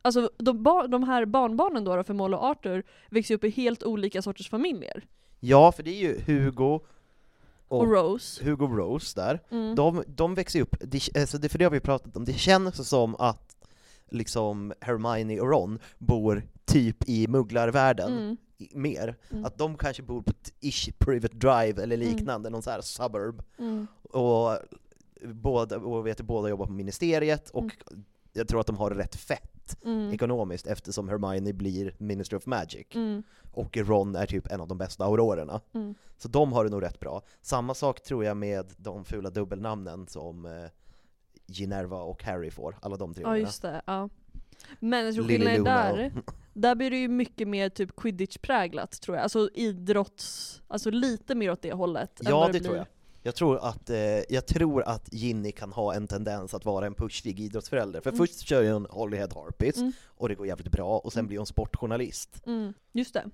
S3: alltså de, bar- de här barnbarnen då, då för Moll och Arthur växer upp i helt olika sorters familjer.
S2: Ja, för det är ju Hugo
S3: Och Rose.
S2: Hugo Rose där.
S3: Mm.
S2: De, de växer ju upp, det, alltså det, för det har vi pratat om, det känns som att liksom Hermione och Ron bor typ i mugglarvärlden
S8: Mm.
S2: i- mer.
S8: Mm.
S2: Att de kanske bor på ett ish private drive eller liknande, någon så här suburb.
S8: Mm.
S2: Och, båda, och vet, att båda jobbar på ministeriet och
S3: Mm.
S2: jag tror att de har det rätt fett
S8: Mm.
S2: ekonomiskt eftersom Hermione blir Minister of Magic.
S8: Mm.
S2: Och Ron är typ en av de bästa aurorerna.
S8: Mm.
S2: Så de har det nog rätt bra. Samma sak tror jag med de fula dubbelnamnen som eh, Ginerva och Harry får, alla de tre
S3: Ja
S2: ungarna.
S3: just det, ja. Men jag tror
S2: Lily
S3: skillnaden
S2: Luna
S3: där,
S2: och-
S3: där blir det ju mycket mer typ quidditch-präglat tror jag. Alltså idrotts, alltså lite mer åt det hållet. än
S2: Ja
S3: vad
S2: det tror
S3: blir.
S2: jag. Jag tror, att, eh, jag tror att Ginny kan ha en tendens att vara en pushig idrottsförälder. För
S3: Mm.
S2: först kör ju hon Holyhead Harpist,
S3: Mm.
S2: och det går jävligt bra, och sen blir hon sportjournalist.
S3: Mm, just det.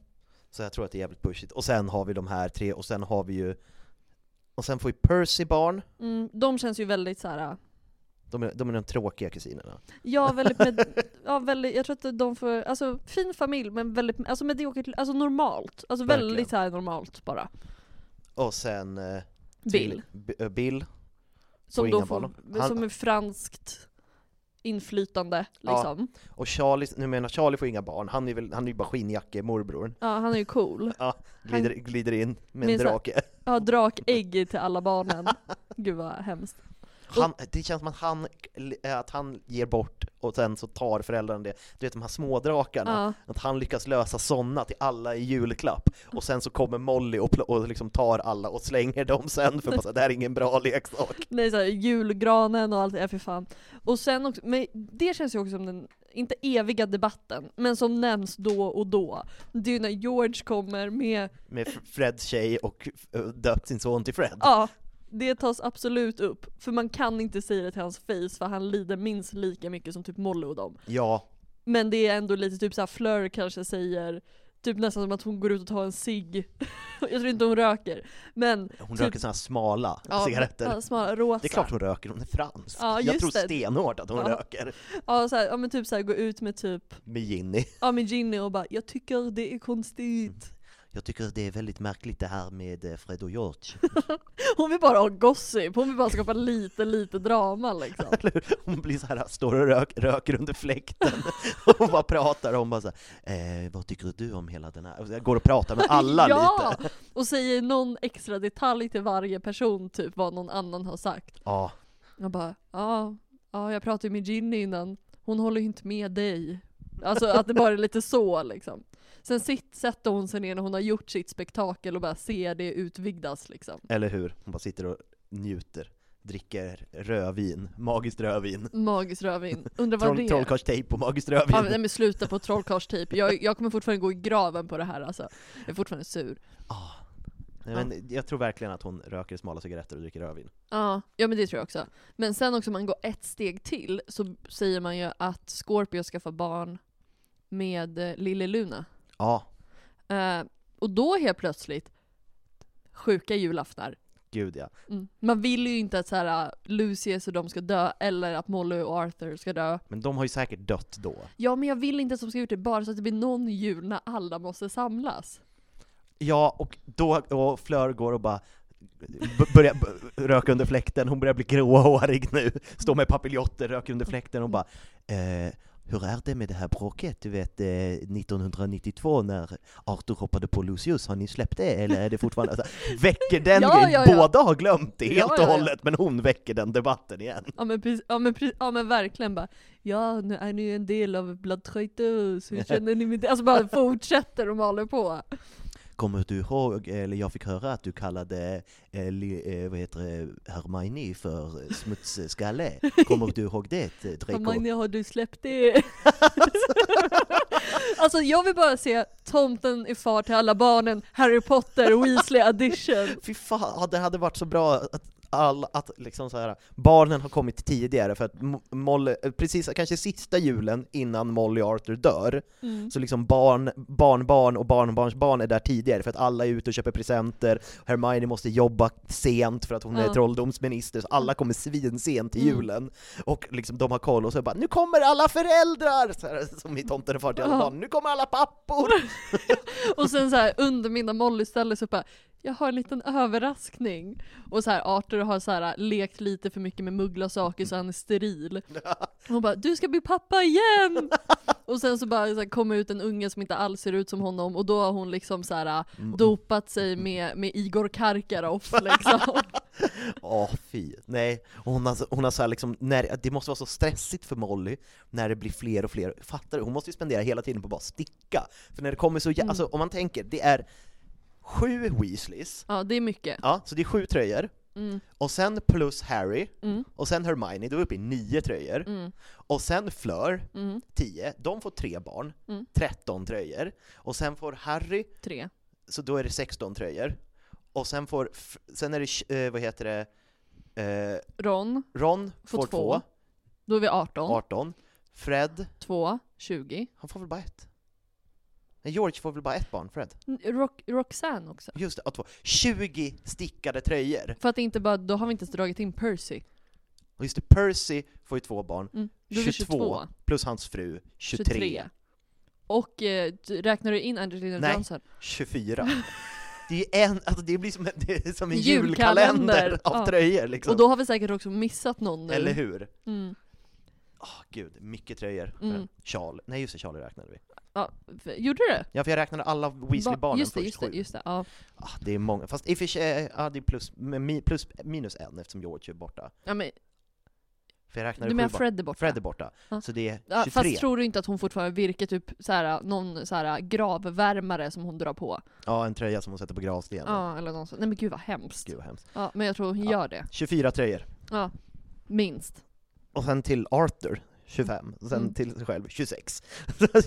S2: Så jag tror att det är jävligt pushigt. Och sen har vi de här tre, och sen har vi ju... Och sen får vi Percy barn,
S3: Mm, de känns ju väldigt så här.
S2: de är de, är de tråkiga kusinerna.
S3: Ja,
S2: <laughs>
S3: väldigt med, ja, väldigt, jag tror att de får, alltså fin familj men väldigt, alltså mediokert, alltså normalt. Alltså
S2: Verkligen.
S3: väldigt så här normalt bara.
S2: Och sen... eh,
S3: Bill.
S2: B- eh, Bill.
S3: Som
S2: Och
S3: då
S2: inga
S3: får,
S2: barn. Han-
S3: som är franskt inflytande liksom. Ja,
S2: Och Charlie, nu menar Charlie får inga barn, han är, väl, han är ju bara skinnjacke, morbrorn.
S3: han är ju cool.
S2: Ja, glider, glider in med en
S3: Minns jag.
S2: drake.
S3: Ja, drakägg till alla barnen. Gud vad hemskt.
S2: Han, det känns som att han, eh, att han ger bort och sen så tar föräldrarna det. Du vet de här smådrakarna, att han lyckas lösa sådana till alla i julklapp. Och sen så kommer Molly och, pl- och liksom tar alla och slänger dem sen för att det här är ingen bra leksak.
S3: Nej såhär julgranen och allt, ja för fan. Och sen också, men det känns ju också som den, inte eviga debatten, men som nämns då och då. Det är ju när George kommer med
S2: Med F- Freds tjej och eh, döpt sin son till Fred.
S3: Ja, det tas absolut upp. För man kan inte säga det till hans face för han lider minst lika mycket som typ Molly och dem.
S2: Ja,
S3: Men det är ändå lite typ såhär Fleur kanske säger, typ nästan som att hon går ut och tar en cigg. <laughs> Jag tror inte hon röker. Men
S2: hon
S3: typ,
S2: röker sådana här smala
S3: Ja,
S2: cigaretter.
S3: ja, smala, rosa.
S2: Det är klart hon röker, hon är fransk.
S3: Ja,
S2: Jag
S3: just
S2: tror
S3: det.
S2: stenhårt att hon
S3: Ja. <laughs>
S2: röker.
S3: Ja, så här, ja men typ såhär gå ut med typ,
S2: Med Ginny.
S3: ja med Ginny och bara 'Jag tycker det är konstigt'
S2: Jag tycker det är väldigt märkligt det här med eh, Fred och George.
S3: Hon vill bara ha gossip, hon vill bara skapa lite, lite drama liksom.
S2: <laughs> Hon blir så här, står och rök, röker under fläkten <laughs> och bara pratar om bara så här, eh, vad tycker du om hela den här? Och så jag går och pratar med alla
S3: <laughs> ja!
S2: lite.
S3: Och säger någon extra detalj till varje person, typ vad någon annan har sagt.
S2: Ja,
S3: Jag bara, ja, ja jag pratade ju med Ginny innan, hon håller ju inte med dig. Alltså att det bara är lite så liksom. Sen sitt, sätter hon sig ner när hon har gjort sitt spektakel och bara ser det utvidgas liksom.
S2: eller hur? Hon bara sitter och njuter, dricker rödvin, magiskt rödvin.
S3: Magiskt rödvin. Undrar vad det
S2: Troll,
S3: är.
S2: trollkarlstejp och magiskt
S3: Ja,
S2: rödvin.
S3: men, nej men sluta på trollkarlstyp. Jag, jag kommer fortfarande gå i graven på det här alltså. Jag är fortfarande sur.
S2: Nej, men jag tror verkligen att hon röker smala cigaretter och dricker rödvin.
S3: Ja, ja men det tror jag också. Men sen också om man går ett steg till så säger man ju att Scorpio skaffar barn med eh, Lille Luna.
S2: Ja,
S3: Eh, och då helt plötsligt, sjuka julaftnar.
S2: gud ja.
S3: Mm. Man vill ju inte att så här, Lucius och de ska dö, eller att Molly och Arthur ska dö.
S2: Men de har ju säkert dött då.
S3: Ja men jag vill inte att de ska ut det bara så att det blir någon jul när alla måste samlas.
S2: Ja, och då, och Flör går och bara B- börjar b- röka under fläkten, hon börjar bli gråhårig nu, står med papiljotter, röker under fläkten och bara eh, hur är det med det här bråket, du vet eh, 1992 när Arthur hoppade på Lucius, har ni släppt det eller är det fortfarande... Alltså,
S3: <laughs>
S2: väcker den
S3: Ja,
S2: grejen,
S3: ja, ja.
S2: båda har glömt det
S3: Ja,
S2: helt
S3: ja,
S2: och
S3: ja.
S2: hållet men hon väcker den debatten igen.
S3: Ja men, precis, ja, men, precis, ja men verkligen bara Ja nu är ni ju en del av Bloodtraitus, hur känner ni med det? Alltså bara fortsätter och maler på.
S2: Kommer du ihåg, eller jag fick höra att du kallade eh, li, eh, vad heter det, Hermione för eh, smutsskalle. Kommer du ihåg det, eh,
S3: Ja,
S2: Draco?
S3: Magne har du släppt det? alltså jag vill bara se Tomten är far till alla barnen, Harry Potter, Weasley edition.
S2: <laughs> Fy fan, ja, det hade varit så bra att, all, att liksom så här, barnen har kommit tidigare för att M- Molly, eh, precis, kanske sista julen innan Molly och Arthur dör,
S8: Mm.
S2: så liksom barn, barnbarn och barnbarnsbarn är där tidigare för att alla är ute och köper presenter, Hermione måste jobba sent för att hon är
S8: Ja.
S2: trolldomsminister, så alla kommer svinsent till
S8: Mm.
S2: julen. Och liksom de har koll och så bara 'Nu kommer alla föräldrar!' Så här, som i Tomten är far till alla
S3: Ja.
S2: barn, 'Nu kommer alla pappor!'
S3: Och sen så här under mina Molly ställer sig upp bara, jag har en liten överraskning. Och så här Arthur har så här lekt lite för mycket med muggla saker så han är steril. Och hon bara, du ska bli pappa igen! Och sen så bara så här, kommer ut en unge som inte alls ser ut som honom och då har hon liksom så här dopat sig med, med Igor Karkaroff liksom.
S2: Åh fy, nej. Och Hon har, hon har så här liksom, när, det måste vara så stressigt för Molly när det blir fler och fler, fattar du? Hon måste ju spendera hela tiden på att bara sticka. För när det kommer
S3: Mm.
S2: så, jä- alltså om man tänker, det är sju Weasleys,
S3: Ja det är mycket.
S2: ja, så det är sju tröjor,
S3: Mm.
S2: och sen plus Harry,
S3: Mm.
S2: och sen Hermione, då är vi uppe i nio tröjor,
S3: Mm.
S2: och sen Fleur,
S3: Mm.
S2: tio, de får tre barn,
S3: Mm.
S2: tretton tröjor, och sen får Harry,
S3: Tre.
S2: så då är det 16 tröjor. Och sen får, f- sen är det, tj- eh, vad heter det, eh,
S3: Ron
S2: Ron
S3: får,
S2: får
S3: två.
S2: två.
S3: Då är vi 18.
S2: 18. Fred,
S3: Två, 20.
S2: han får väl bara ett? Nej, George får väl bara ett barn, Fred?
S3: Rock, Roxanne också.
S2: Just det, ja, två. 20 stickade tröjor!
S3: För att det inte bara, då har vi inte ens dragit in Percy.
S2: Och just det, Percy får ju två barn.
S3: Mm, då är vi
S2: 22,
S3: 22.
S2: plus hans fru, 23.
S3: Och eh, du- räknar du in Angelina
S2: Nej,
S3: Johnson?
S2: 24.
S3: <laughs>
S2: Det är ju en, alltså det blir som en, det är som en julkalender,
S3: Julkalender,
S2: av
S3: ja.
S2: tröjor liksom.
S3: Och då har vi säkert också missat någon nu.
S2: Eller hur?
S3: Mm.
S2: Åh, gud, mycket tröjor.
S3: Mm.
S2: Charlie, nej just det, Charlie räknade vi.
S3: Ja, f- gjorde du det?
S2: Ja, för jag räknade alla
S3: Ba-
S2: Weasley-barnen
S3: just det,
S2: först,
S3: just det,
S2: sju.
S3: just det. Ja.
S2: Ah, det är många, fast i och för sig, eh, ja det är plus, men mi- plus minus en eftersom George är borta.
S3: Ja, men,
S2: För jag räknade
S3: du
S2: sju
S3: menar
S2: barn.
S3: Fred är borta?
S2: Fred är borta.
S3: Ja.
S2: Så det är 23.
S3: Ja, fast tror du inte att hon fortfarande virkar typ såhär, någon såhär, gravvärmare som hon drar på?
S2: Ja, en tröja som hon sätter på gravstenen.
S3: Ja, eller någon sån. Nej men gud vad hemskt.
S2: Gud vad hemskt.
S3: Ja, men jag tror hon
S2: Ja.
S3: gör det.
S2: 24 tröjor.
S3: Ja, minst.
S2: Och sen till Arthur, 25. Och sen
S3: Mm.
S2: till sig själv, 26.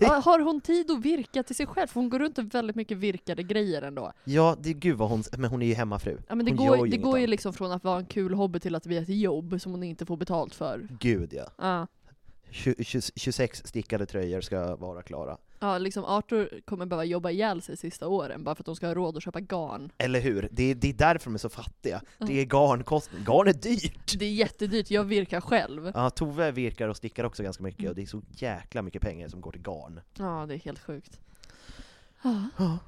S3: Ja, har hon tid att virka till sig själv? För hon går runt och väldigt mycket virkade grejer ändå.
S2: <laughs> ja, det, gud vad hon, men hon är ju hemmafru.
S3: Ja men det
S2: hon
S3: går,
S2: gör
S3: det
S2: inget
S3: går ju
S2: annat.
S3: liksom från att vara en kul hobby till att bli ett jobb som hon inte får betalt för.
S2: Gud ja.
S3: Ja,
S2: Tju- tju- 26 stickade tröjor ska vara klara.
S3: ja liksom Arthur kommer behöva jobba ihjäl sig sista åren bara för att de ska ha råd att köpa garn.
S2: Eller hur? Det är, det är därför de är så fattiga.
S3: Ja.
S2: Det är garnkostnad. Garn är dyrt!
S3: Det är jättedyrt, jag virkar <laughs> själv.
S2: Ja, Tove virkar och stickar också ganska mycket och det är så jäkla mycket pengar som går till garn.
S3: Ja, det är helt sjukt. Ja.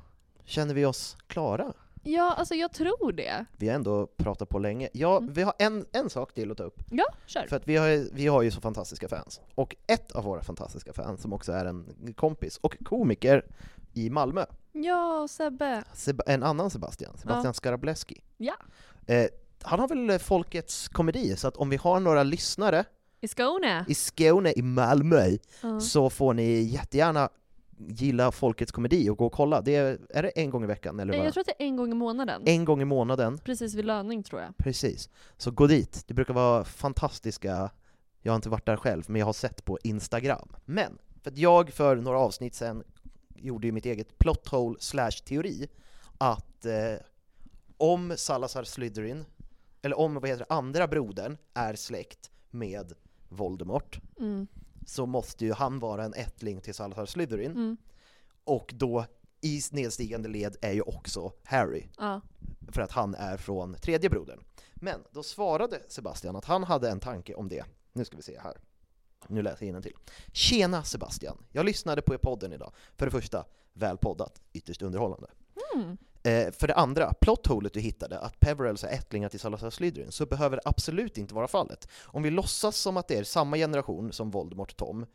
S2: Känner vi oss klara?
S3: Ja, alltså jag tror det.
S2: Vi har ändå pratat på länge. Ja,
S3: Mm.
S2: vi har en, en sak till att ta upp.
S3: Ja, kör.
S2: För att vi har, vi har ju så fantastiska fans. Och ett av våra fantastiska fans, som också är en kompis och komiker i Malmö,
S3: Ja, Sebbe.
S2: Seb- en annan Sebastian, Sebastian
S3: Ja.
S2: Skarableski.
S3: Ja.
S2: Eh, han har väl Folkets komedi, så att om vi har några lyssnare
S3: I Skåne.
S2: i Skåne, i Malmö,
S3: Ja.
S2: så får ni jättegärna gilla Folkets komedi och gå och kolla. Det är, är det en gång i veckan eller
S3: Nej,
S2: vad?
S3: jag tror att det är en gång i månaden.
S2: En gång i månaden,
S3: Precis vid löning tror jag.
S2: precis. Så gå dit, det brukar vara fantastiska, jag har inte varit där själv, men jag har sett på Instagram. Men, för att jag för några avsnitt sen gjorde ju mitt eget plot hole slash teori, att eh, om Salazar Slytherin, eller om vad heter det, andra brodern är släkt med Voldemort,
S3: Mm.
S2: så måste ju han vara en ättling till Salazar Slytherin.
S3: Mm.
S2: Och då i nedstigande led är ju också Harry,
S3: Ja.
S2: för att han är från tredje brodern. Men då svarade Sebastian att han hade en tanke om det. Nu ska vi se här. Nu läser jag till. Tjena Sebastian! Jag lyssnade på er podden idag. För det första, väl poddat, ytterst underhållande.
S3: Mm.
S2: Eh, för det andra, plotthålet du hittade, att Peverells är ättlingar till Salazar Slytherin, så behöver det absolut inte vara fallet. Om vi låtsas som att det är samma generation som Voldemort och Tom,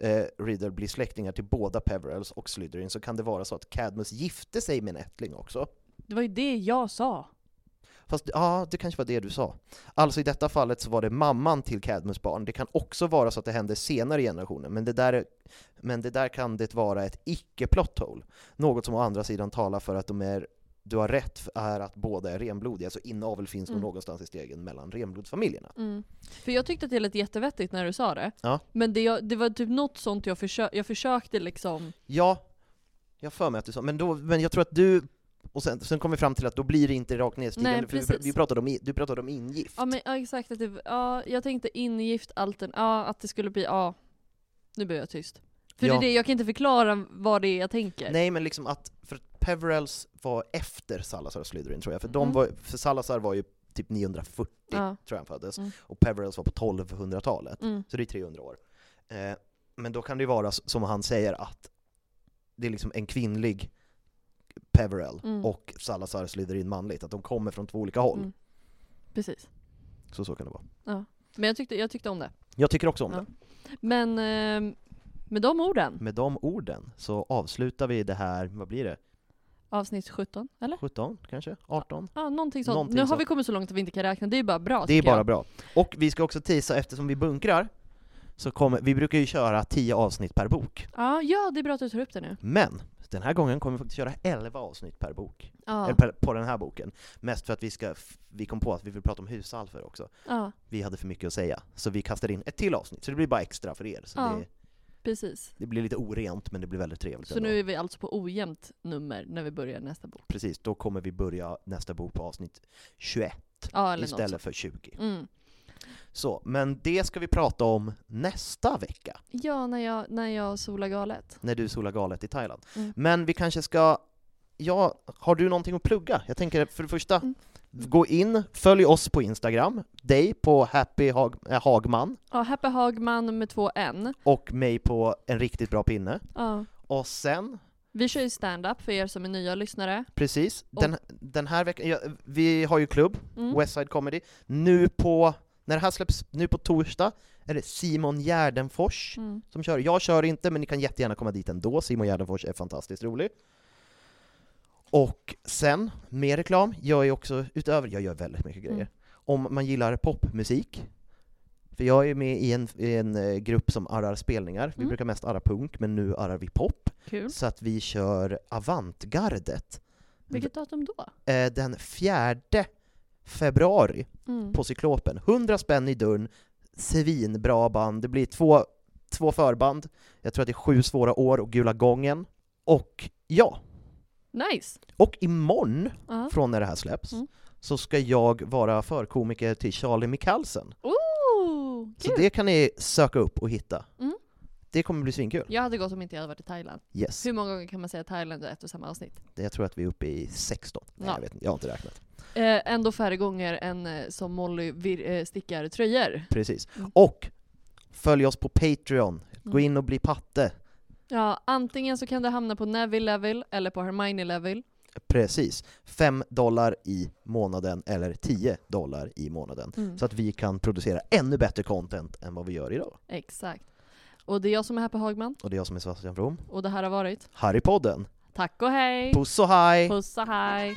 S2: eh, Riddle blir släktingar till båda Peverells och Slytherin, så kan det vara så att Cadmus gifte sig med en ättling också.
S3: Det var ju det jag sa.
S2: Fast ja, det kanske var det du sa. Alltså i detta fallet så var det mamman till Cadmus barn. Det kan också vara så att det hände senare i generationen, men det där, men det där kan det vara ett icke-plot hole. Något som å andra sidan talar för att de är du har rätt f- är att båda är renblodiga, så inavel finns nog
S3: Mm.
S2: någonstans i stegen mellan renblodsfamiljerna.
S3: Mm. För jag tyckte att det lät jättevettigt när du sa det.
S2: Ja.
S3: Men det, jag, det var typ något sånt jag, försö- jag försökte liksom...
S2: Ja, jag för mig att du sa, men, då, men jag tror att du, och sen, sen kom vi fram till att då blir det inte rakt
S3: Nej,
S2: nedstigande, för vi,
S3: precis.
S2: vi pratade om, i- du pratade om ingift.
S3: Ja men ja, exakt, att det, ja, jag tänkte ingift, altern, ja att det skulle bli, ja. Nu blir jag tyst. För det
S2: Ja.
S3: är det, jag kan inte förklara vad det är jag tänker.
S2: Nej men liksom att, för att Peverells var efter Salazar Slytherin tror jag, för, de
S3: Mm.
S2: var, för Salazar var ju typ 940
S3: Ja.
S2: tror jag han föddes,
S3: Mm.
S2: och Peverells var på 1200-talet,
S3: Mm.
S2: så det är 300 år. Eh, men då kan det ju vara s- som han säger att det är liksom en kvinnlig Peverell
S3: Mm.
S2: och Salazar Slytherin manligt, att de kommer från två olika håll.
S3: Mm. Precis.
S2: Så så kan det vara.
S3: Ja. Men jag tyckte, jag tyckte om det.
S2: Jag tycker också om
S3: Ja.
S2: det.
S3: Men eh, med de orden,
S2: Med de orden så avslutar vi det här, vad blir det?
S3: avsnitt 17, eller?
S2: 17 kanske? 18?
S3: Ja, någonting sånt.
S2: Någonting
S3: nu har
S2: sånt.
S3: vi kommit så långt att vi inte kan räkna, det är bara bra
S2: Det är
S3: tycker
S2: bara
S3: jag.
S2: bra. Och vi ska också tisa eftersom vi bunkrar, så kommer, vi brukar ju köra 10 avsnitt per bok.
S3: Ja, ja, det är bra att du tar upp det nu.
S2: Men den här gången kommer vi faktiskt köra 11 avsnitt per bok.
S3: Ja.
S2: Eller per, på den här boken. Mest för att vi, ska, f- vi kom på att vi vill prata om husalfer också.
S3: Ja.
S2: Vi hade för mycket att säga, så vi kastar in ett till avsnitt. Så det blir bara extra för er. Så
S3: Ja.
S2: det,
S3: Precis.
S2: det blir lite orent, men det blir väldigt trevligt
S3: Så
S2: ändå.
S3: nu är vi alltså på ojämnt nummer när vi börjar nästa bok.
S2: Precis, då kommer vi börja nästa bok på avsnitt 21
S3: Ja, eller något
S2: istället
S3: sånt.
S2: för 20.
S3: Mm.
S2: Så, men det ska vi prata om nästa vecka.
S3: Ja, när jag, när jag solar galet.
S2: när du solar galet i Thailand.
S3: Mm.
S2: Men vi kanske ska, ja, har du någonting att plugga? Jag tänker för det första, gå in, följ oss på Instagram, dig på Happy Hag, eh, Hagman
S3: Ja, Happy Hagman med två N.
S2: och mig på En riktigt bra pinne.
S3: Ja.
S2: Och sen,
S3: Vi kör ju stand-up för er som är nya lyssnare.
S2: precis,
S3: Och-
S2: den, den här veckan, ja, vi har ju klubb,
S3: Mm.
S2: Westside Comedy, nu på, när det här släpps, nu på torsdag, är det Simon Gärdenfors
S3: Mm.
S2: som kör. Jag kör inte, men ni kan jättegärna komma dit ändå. Simon Gärdenfors är fantastiskt rolig. Och sen, mer reklam. Jag är också, utöver, jag gör väldigt mycket grejer.
S3: Mm.
S2: Om man gillar popmusik, för jag är med i en, i en eh, grupp som arrar spelningar. Vi
S3: Mm.
S2: brukar mest arra punk, men nu arrar vi pop.
S3: Kul.
S2: Så att vi kör Avantgardet.
S3: Vilket datum då?
S2: Eh, Den fjärde februari
S3: Mm.
S2: på Cyklopen. 100 spänn i dörren, svinbra band. Det blir två, två förband, jag tror att det är Sju svåra år och Gula gången. Och ja,
S3: Nice!
S2: och imorgon,
S3: Ja.
S2: från när det här släpps,
S3: Mm.
S2: så ska jag vara förkomiker till Charlie Mikalsen.
S3: Ooh,
S2: Så
S3: kul!
S2: det kan ni söka upp och hitta.
S3: Mm.
S2: Det kommer bli svinkul.
S3: Jag hade gått om inte jag hade varit i Thailand.
S2: Yes.
S3: Hur många gånger kan man säga Thailand i ett och samma avsnitt?
S2: Jag tror att vi är uppe i 16. Nej,
S3: Ja.
S2: jag vet inte, jag har inte räknat.
S3: Eh, ändå färre gånger än eh, som Molly vir- eh, stickar tröjor.
S2: Precis.
S3: Mm.
S2: Och följ oss på Patreon. Gå
S3: Mm.
S2: in och bli patte.
S3: Ja, antingen så kan du hamna på Neville level eller på Hermione level.
S2: Precis. 5 dollar i månaden eller 10 dollar i månaden.
S3: Mm.
S2: Så att vi kan producera ännu bättre content än vad vi gör idag.
S3: Exakt. Och det är jag som är här på Hagman
S2: Och det är jag som är Sebastian From.
S3: och det här har varit
S2: Harrypodden.
S3: Tack och hej!
S2: Puss och hej!
S3: Puss och hej!